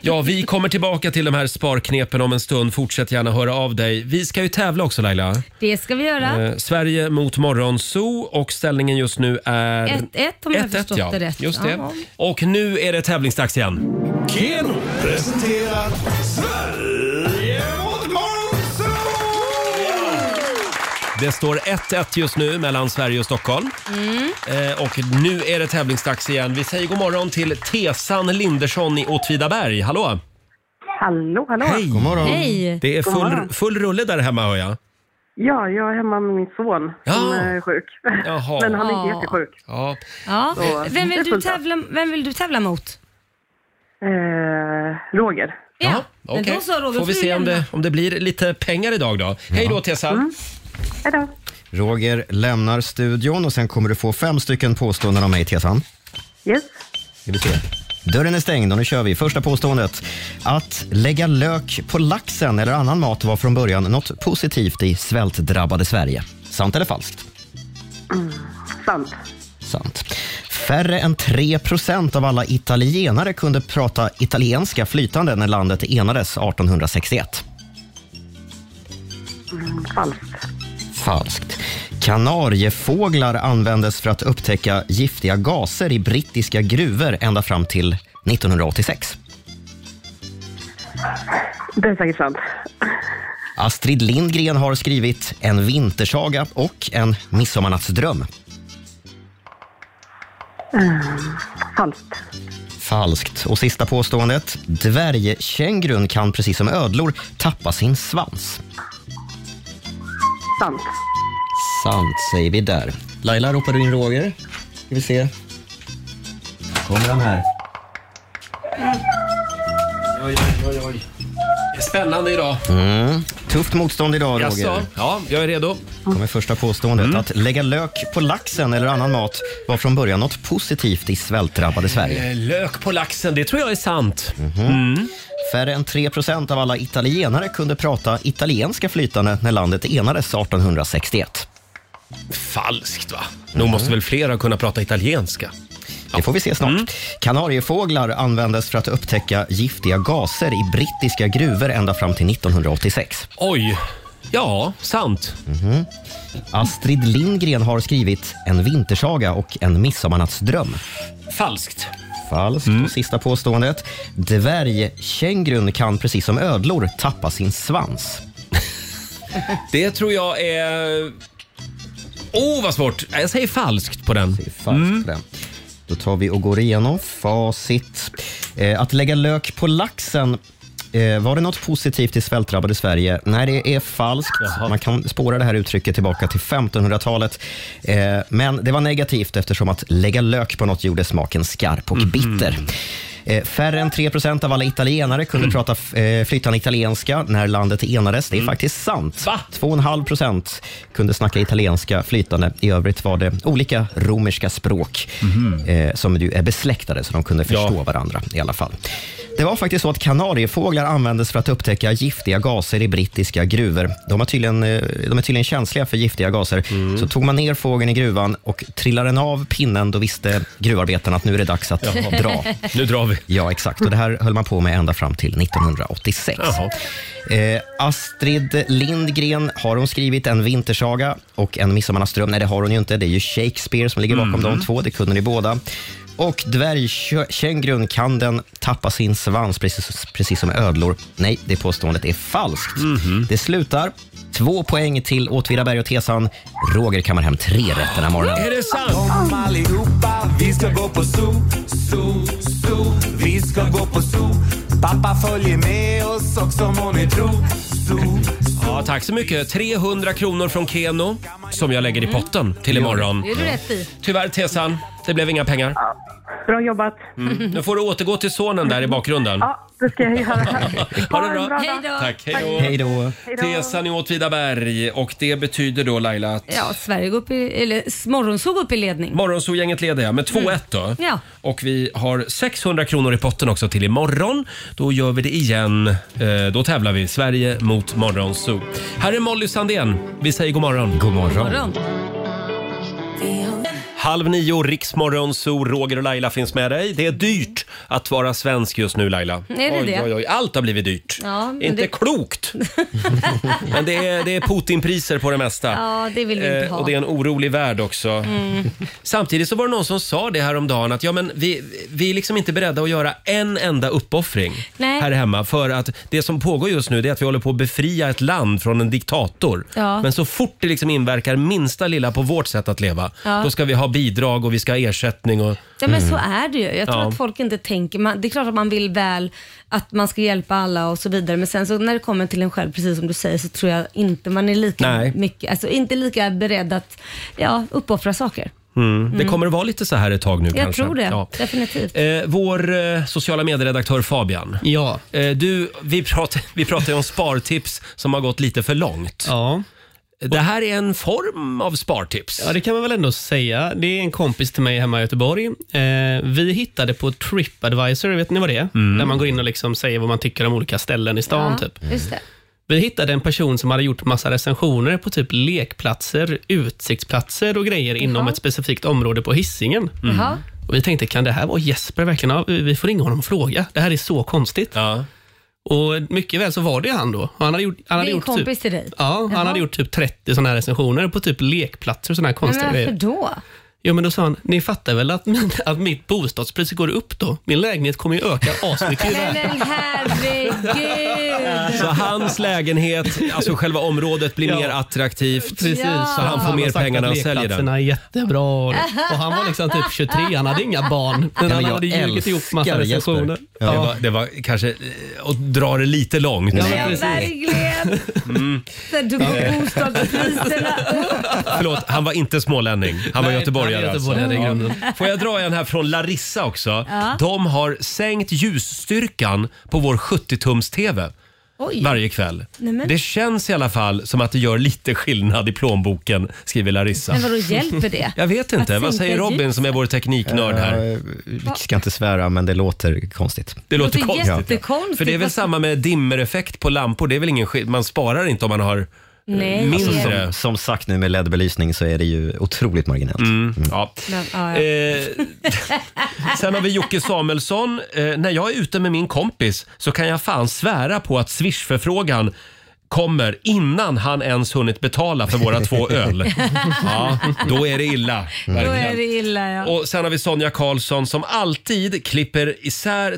Ja, vi kommer tillbaka till de här sparknepen om en stund. Fortsätt gärna höra av dig. Vi ska ju tävla också Laila.
Det ska vi göra.
Eh, Sverige mot Morgonzoo och ställningen just nu är...
1-1 om jag
1-1,
har förstått
ja.
det rätt.
Just det.
Ja.
Och nu är det tävlingsdags igen.
Keno presenterar Sverige mot
Det står 1-1 just nu mellan Sverige och Stockholm.
Mm.
Eh, Och nu är det tävlingsdags igen. Vi säger god morgon till Tesan Lindersson i Åtvidaberg. Hallå!
Hallå, hallå.
Hej!
God morgon. Hej.
Det är
God
full,
morgon.
full rulle där hemma hör jag.
Ja, jag är hemma med min son som
Ja.
är sjuk.
Jaha.
Men han är inte
Ja.
jättesjuk.
Ja.
Ja.
Så,
Vem,
det är
vill du
fullt upp.
tävla, vem vill du tävla mot?
Eh, Roger.
Ja,
Okej,
men då så Roger.
får vi
du
se om
lämna.
det, om det blir lite pengar idag då. Hej då Tesan!
Roger lämnar studion och sen kommer du få fem stycken påståenden av mig, Tessan.
Yes.
Ska vi se. Dörren är stängd och nu kör vi. Första påståendet. Att lägga lök på laxen eller annan mat var från början något positivt i svältdrabbade Sverige. Sant eller falskt?
Mm. Sant.
Sant. Färre än 3 av alla italienare kunde prata italienska flytande när landet enades 1861.
Mm. Falskt.
Falskt. Kanariefåglar användes för att upptäcka giftiga gaser i brittiska gruvor ända fram till 1986.
Det är säkert sant.
Astrid Lindgren har skrivit En vintersaga och En midsommarnattsdröm.
Mm. Falskt.
Falskt. Och sista påståendet. Dvärgkängurun kan precis som ödlor tappa sin svans.
Sant.
Sant säger vi där. Laila, ropar du in Roger? Ska vi se. Kommer han här?
Oj, oj, oj. Det är spännande idag.
Mm. Tufft motstånd idag, Roger.
Jaså? Ja, jag är redo.
kommer första påståendet. Att lägga lök på laxen eller annan mat var från början något positivt i svältdrabbade Sverige.
Eh, Lök på laxen, det tror jag är sant.
Färre än 3 av alla italienare kunde prata italienska flytande när landet enades 1861.
Falskt va? Nog måste väl fler ha kunnat prata italienska?
Det får vi se snart. Kanariefåglar användes för att upptäcka giftiga gaser i brittiska gruvor ända fram till 1986.
Oj! Ja, sant.
Mhm. Astrid Lindgren har skrivit En vintersaga och En midsommarnattsdröm.
Falskt.
Falskt. Och sista påståendet. Dvärgkängurun kan precis som ödlor tappa sin svans.
Det tror jag är... Åh, oh, vad svårt! Jag säger falskt på den.
Falskt för det. Då tar vi och går igenom facit. Eh, att lägga lök på laxen Eh, var det något positivt i svältdrabbade Sverige? Nej, det är falskt. Man kan spåra det här uttrycket tillbaka till 1500-talet. Eh, men det var negativt eftersom att lägga lök på något gjorde smaken skarp och bitter. Eh, Färre än 3 av alla italienare kunde prata f- eh, flytande italienska när landet enades. Det är faktiskt sant. 2,5 kunde snacka italienska flytande. I övrigt var det olika romerska språk eh, som ju är besläktade, så de kunde förstå varandra i alla fall. Det var faktiskt så att kanariefåglar användes för att upptäcka giftiga gaser i brittiska gruvor. De, har tydligen, eh, de är tydligen känsliga för giftiga gaser. Så tog man ner fågeln i gruvan och trillade den av pinnen, då visste gruvarbetarna att nu är det dags att
Jaha.
dra.
Nu drar vi.
Ja, exakt. Och det här höll man på med ända fram till 1986. Eh, Astrid Lindgren, har hon skrivit en vintersaga och en midsommarnattsdröm? Nej, det har hon ju inte. Det är ju Shakespeare som ligger bakom
Mhm.
de två. Det kunde ni båda. Och dvärgkängurun kan den tappa sin svans precis, precis som ödlor. Nej, det påståendet är falskt.
Mhm.
Det slutar två poäng till Åtvidaberg och Tesan. Roger kammar hem tre rätt den här morgonen.
Är det sant? Kom allihopa, vi ska gå på zoo, zoo, zoo. Vi ska gå på zoo. Pappa följer med oss också må ni tro. Zoo.
Ja, tack så mycket. 300 kronor från Keno som jag lägger i potten till imorgon.
Det är du rätt i.
Tyvärr Tessan, det blev inga pengar.
Bra jobbat.
Mm. Nu får du återgå till sonen där i bakgrunden.
Ja, det ska jag göra.
Ha det bra.
Hej då.
Tack,
hej då.
Hej då.
Tesan i Åtvidaberg och det betyder då Laila att
Ja, Sverige går upp i, eller Morgonzoo går upp i ledning.
Morgonzoo-gänget leder jag med 2-1 då.
Mm. Ja.
Och vi har 600 kronor i potten också till imorgon. Då gör vi det igen. Eh, Då tävlar vi Sverige mot Morgonzoo. Här är Molly Sandén. Vi säger god morgon.
God morgon.
Halv nio, Riksmorgonzoo, Roger och Laila finns med dig. Det är dyrt att vara svensk just nu Laila.
Är det
oj,
det?
Oj, oj. Allt har blivit dyrt.
Ja, men
Inte
det-
klokt! Men det är, det är Putinpriser på det mesta.
Ja, det vill vi inte
Eh,
ha.
Och det är en orolig värld också.
Mm.
Samtidigt så var det någon som sa det här om dagen att ja, men vi, vi är liksom inte beredda att göra en enda uppoffring
Nej.
här hemma för att det som pågår just nu det är att vi håller på att befria ett land från en diktator.
Ja.
Men så fort det liksom inverkar minsta lilla på vårt sätt att leva,
Ja.
då ska vi ha bidrag och vi ska ha ersättning och...
Ja, men
Mm.
så är det ju. Jag tror
Ja.
att folk inte tänker. Man, det är klart att man vill väl, att man ska hjälpa alla och så vidare. Men sen så när det kommer till en själv, precis som du säger, så tror jag inte man är lika
Nej.
mycket, alltså inte lika beredd att ja, uppoffra saker.
Mm. Det
Mm.
kommer att vara lite så här ett tag nu
jag
kanske.
tror det,
Ja.
definitivt.
Eh, vår eh, sociala medieredaktör Fabian.
Ja.
Eh, du, vi pratade vi pratar ju om spartips som har gått lite för långt.
Ja.
Det här är en form av spartips.
Ja, det kan man väl ändå säga. Det är en kompis till mig hemma i Göteborg. Eh, vi hittade på Tripadvisor, vet ni vad det är? Där man går in och liksom säger vad man tycker om olika ställen i stan.
ja,
Typ.
Just det.
Vi hittade en person som hade gjort massa recensioner på typ lekplatser, utsiktsplatser och grejer inom
Jaha.
ett specifikt område på Hisingen.
Mm.
Jaha.
Och vi tänkte, kan det här vara Jesper verkligen? Ja, vi vi får ringa honom och fråga. Det här är så konstigt. Och mycket väl så var det han då. Och Han hade gjort, han hade
Din
gjort
kompis
typ,
till dig?
Ja,
Jaha.
han hade gjort typ 30 sådana här recensioner på typ lekplatser och sådana här
Men
konstiga
varför
grejer.
då?
Jo, men då sa han, ni fattar väl att, min, att mitt bostadspris går upp då? Min lägenhet kommer ju öka asmycket. i
Nej,
värde."
men herregud!
Så hans lägenhet, alltså själva området blir mer attraktivt.
Precis.
Så han får mer pengar när han säljer den.
Lekplatserna är jättebra. Och, och han var liksom typ 23, han hade inga barn. Men han hade ljugit ihop massa recensioner.
Ja. Det, var, det var kanske eh, att dra det lite långt.
Ja,
Ja, verkligen!
Mm.
Där du går bostadspriserna upp.
Förlåt, han var inte smålänning. Han var
Nej,
göteborgare.
han är göteborgare i
alltså.
grunden.
Ja. Får jag dra en här från Larissa också?
Ja.
De har sänkt ljusstyrkan på vår 70-tums-TV
Oj.
varje kväll.
Nej, men-
Det känns i alla fall som att det gör lite skillnad i plånboken, skriver Larissa.
Men vadå, hjälper det?
Jag vet inte.
Att
Vad säger
sänka
Robin som är vår tekniknörd här?
Eh, Vi ska inte svära, men det låter konstigt.
Det låter
låter
konstigt.
jättekonstigt.
För det är väl
Varför-
samma med dimmereffekt på lampor. Det är väl ingen skill- Man sparar inte om man har eh,
Nej.
mindre.
Alltså, Som, som sagt nu med LED-belysning så är det ju otroligt marginellt.
Ja.
Men, ja, ja.
Eh, sen har vi Jocke Samuelsson. Eh, när jag är ute med min kompis så kan jag fan svära på att swishförfrågan kommer innan han ens hunnit betala för våra två öl. Ja, då är det illa.
Då
verkligen.
är det illa ja.
Och sen har vi Sonja Karlsson som alltid klipper isär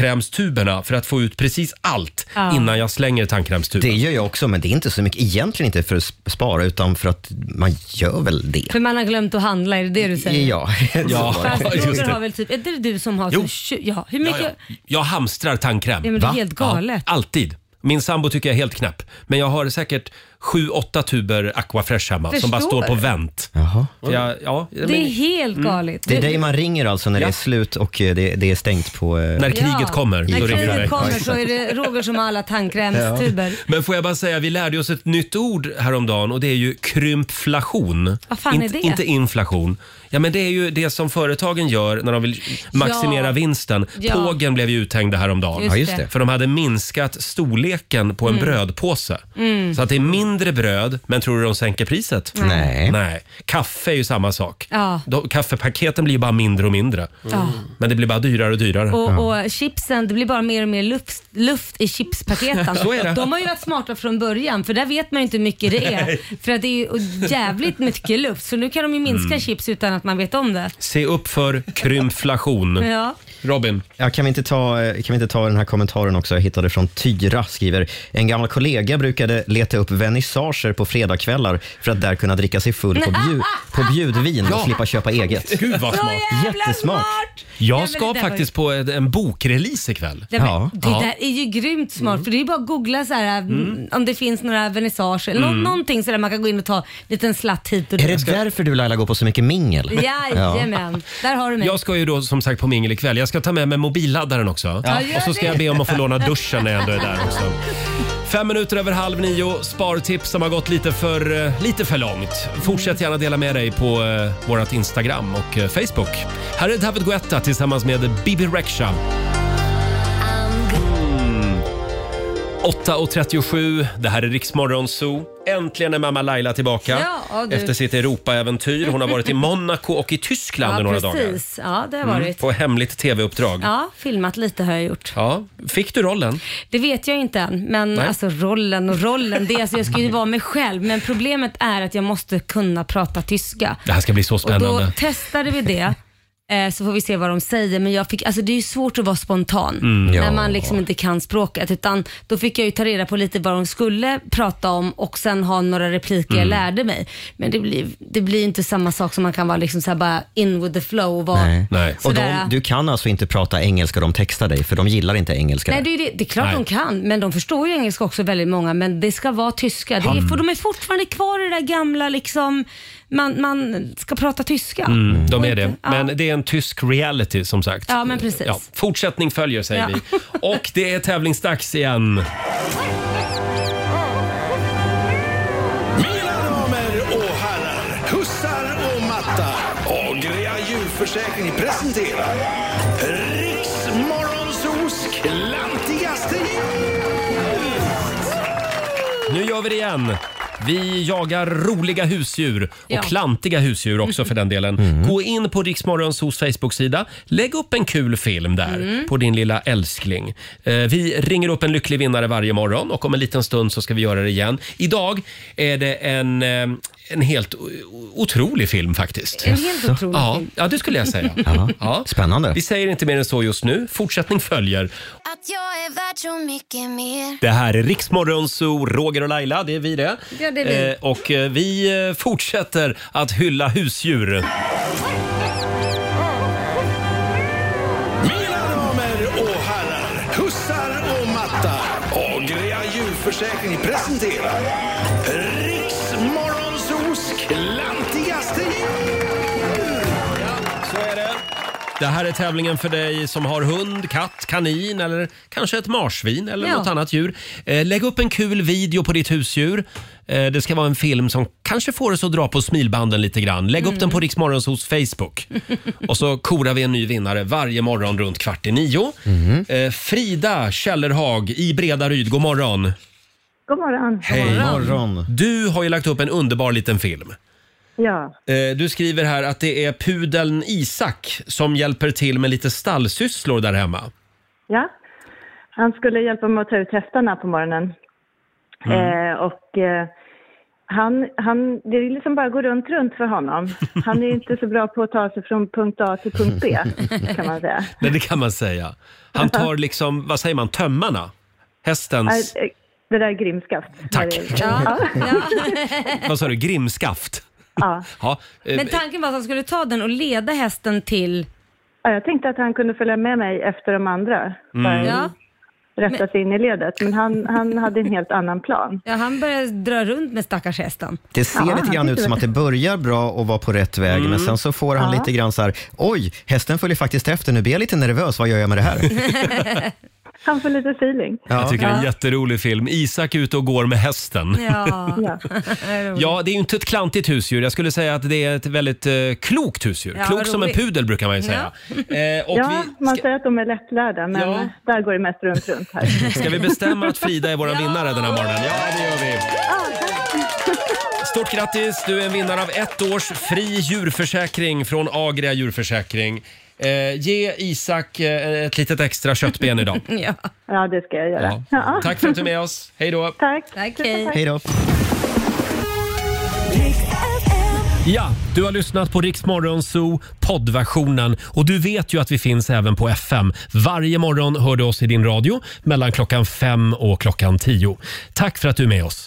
tandkrämstuberna för att få ut precis allt
Ja.
innan jag slänger tandkrämstuben.
Det gör jag också, men det är inte så mycket, egentligen inte för att sp- spara, utan för att man gör väl det.
För man har glömt att handla, är det det du säger?
Ja, så var det.
Fast Roger har väl typ, är det du som har
Jo.
så tju- ja, hur mycket?
Ja, ja. Jag hamstrar tandkräm.
Ja, men det är Va? helt galet.
Ja, alltid. Min sambo tycker jag är helt knäpp. Men jag har säkert sju, åtta tuber Aquafresh hemma som bara
Förstår.
står på vänt.
Jaha.
För Jag, ja,
Det är
men- Mm.
helt galet.
Det är
Du-
dig man ringer alltså när det är slut och eh, det, det är stängt på... eh,
När kriget kommer,
När
då ringer du
kriget
mig.
kommer så är det Roger som har alla tandkrämstuber.
Men får jag bara säga, vi lärde oss ett nytt ord häromdagen och det är ju krympflation.
Vad fan är
inte,
det?
inte inflation. Ja, men det är ju det som företagen gör när de vill maximera
Ja.
vinsten.
Ja.
Pågen blev ju uthängda häromdagen.
Just Ja, just det. det.
För de hade minskat storleken på en
Mm.
brödpåse.
Mm.
Så att det är mindre bröd, men tror du de sänker priset?
Nej.
Nej. Kaffe är ju samma sak.
Ja.
De, kaffepaketen blir ju bara mindre och mindre.
Ja.
Men det blir bara dyrare och dyrare.
Och, och chipsen, det blir bara mer och mer luft, luft i chipspaketen.
Så är det.
De har ju varit smarta från början för där vet man ju inte hur mycket det är.
Nej.
För att det är ju jävligt mycket luft så nu kan de ju minska
Mm.
chips utan att man vet om det.
Se upp för krympflation.
Ja.
Robin?
Ja, kan, vi inte ta, eh, kan vi inte ta den här kommentaren också? Jag hittade från Tyra, skriver. En gammal kollega brukade leta upp vernissager på fredagskvällar för att där kunna dricka sig full på, bju, på bjudvin och
Ja.
slippa köpa eget.
Gud vad smart.
Jättesmart.
Nej, men
Jag
det
ska
där
faktiskt på en, en bokrelease ikväll.
Det, det där är ju grymt smart för det är ju bara att googla så här,
Mm.
om det finns några vernissager eller nå-
Mm.
någonting så där man kan gå in och ta en liten slatt hit och
Är det därför du Laila går på så mycket mingel?
Jajamän, där har du mig.
Jag ska ju då som sagt på mingel ikväll. Jag ska ta med mig mobilladdaren också.
Ja, gör
Och så ska
det.
jag be om att få låna duschen när jag ändå är där också. Fem minuter över halv nio, spartips som har gått lite för, eh, lite för långt. Fortsätt gärna dela med dig på eh, vårt Instagram och eh, Facebook. Här är David Guetta tillsammans med Bibi Rexha. Mm. 8.37, det här är Riksmorgon Zoo. Äntligen är mamma Laila tillbaka
Ja, du.
efter sitt Europaäventyr. Hon har varit i Monaco och i Tyskland i
ja,
några dagar.
precis. Ja, det har
Mm,
varit.
På hemligt tv-uppdrag. Ja.
Ja, filmat lite har jag gjort.
Fick du rollen?
Det vet jag inte än, men
Nej.
alltså rollen och rollen. Det är, alltså, jag ska ju vara mig själv, men problemet är att jag måste kunna prata tyska.
Det här ska bli så
Och då
spännande.
testade vi det. eh, Så får vi se vad de säger. Men jag fick, alltså det är ju svårt att vara spontan
Mm, ja.
när man liksom inte kan språket. Utan då fick jag ju ta reda på lite vad de skulle prata om och sen ha några repliker jag
Mm.
lärde mig. Men det blir, det blir inte samma sak som man kan vara liksom så här bara in with the flow och vara
Och
sådär.
de, du kan alltså inte prata engelska de textar dig, för de gillar inte engelska.
Nej, det, är ju det, det är klart
Nej.
de kan, men de förstår ju engelska också väldigt många. Men det ska vara tyska. Det är,
Mm.
för de är fortfarande kvar i det där gamla, liksom, man, man ska prata tyska.
Mm, de är det.
Ja.
Men det är en tysk reality som sagt.
Ja, men precis.
Ja, fortsättning följer säger
Ja.
vi. Och det är tävlingsdags igen.
Mina damer och herrar, hussar och mattar. Agria djurförsäkring presenterar Riksmorgonsos klantigaste
Nu gör vi det igen. Vi jagar roliga husdjur och
Ja.
klantiga husdjur också för den delen. Gå in på Riksmorgons hos Facebook-sida. Lägg upp en kul film där
Mm.
på din lilla älskling. Eh, Vi ringer upp en lycklig vinnare varje morgon och om en liten stund så ska vi göra det igen. Idag är det en, eh, en helt o- o- otrolig film faktiskt.
En helt otrolig
ja,
film.
Ja, det skulle jag säga. ja. Spännande. Vi säger inte mer än så just nu. Fortsättning följer.
Att jag är värd så mycket mer.
Det här är Riksmorgon Zoo, Roger och Laila, det är vi det.
Ja, det är vi.
Eh, och eh, vi eh, fortsätter att hylla husdjur.
Mina damer och herrar, hussar och mattar. Agria djurförsäkring presenterar Riksmorgonsos klantigaste
Så är det. Det här är tävlingen för dig som har hund, katt, kanin eller kanske ett marsvin eller
Ja.
något annat djur. Eh, lägg upp en kul video på ditt husdjur. Eh, det ska vara en film som kanske får oss att dra på smilbanden lite grann. Lägg upp
Mm.
den på Riksmorgons hos Facebook. Och så korar vi en ny vinnare varje morgon runt kvart i nio. Eh, Frida Källerhag i Bredaryd, god morgon.
God morgon.
Du har ju lagt upp en underbar liten film.
Ja,
Eh, Du skriver här att det är pudeln Isak som hjälper till med lite stallsysslor där hemma.
ja. Han skulle hjälpa mig att ta ut hästarna på morgonen.
Mm.
Eh, och eh, han, han, det är liksom bara att gå runt, runt för honom. Han är ju inte så bra på att ta sig från punkt A till punkt B, kan man säga.
Nej, det kan man säga. Han tar liksom, vad säger man, tömmarna? Hästens,
Eh, eh, Det där är grimskaft.
Tack.
Ja.
vad sa du, grimskaft?
ja.
Ja, eh,
Men tanken var att han skulle ta den och leda hästen till...
Ja, jag tänkte att han kunde följa med mig efter de andra.
Mm.
Bara
Ja.
Rätta sig in i ledet. Men han, han hade en helt annan plan.
Ja, han började dra runt med stackars hästen.
Det ser lite grann ut som att det börjar bra och var på rätt väg, men
Mm.
sen så får han
Ja.
lite grann så här, oj, hästen följer faktiskt efter, nu blir jag lite nervös, vad gör jag med det här?
Han får lite feeling.
Jag tycker det är en jätterolig film. Isak ute och går med hästen.
ja.
Ja, det är ju inte ett klantigt husdjur. Jag skulle säga att det är ett väldigt eh, klokt husdjur.
Ja,
Klok som en
roligt.
pudel brukar man ju säga. Eh, och
ja, man säger att de är lättlärda, men
Ja.
där går det mest runt runt här.
Ska vi bestämma att Frida är vår vinnare den här morgonen? Ja, det gör vi. Stort grattis! Du är en vinnare av ett års fri djurförsäkring från Agria djurförsäkring. Eh, ge Isak eh, ett litet extra köttben idag.
Ja.
ja, det ska jag göra. Ja.
Tack för att du är med oss. Hej då!
Tack.
Hej då! Ja, du har lyssnat på Rix Morgon Zoo poddversionen och du vet ju att vi finns även på FM. Varje morgon hör du oss i din radio mellan klockan fem och klockan tio. Tack för att du är med oss.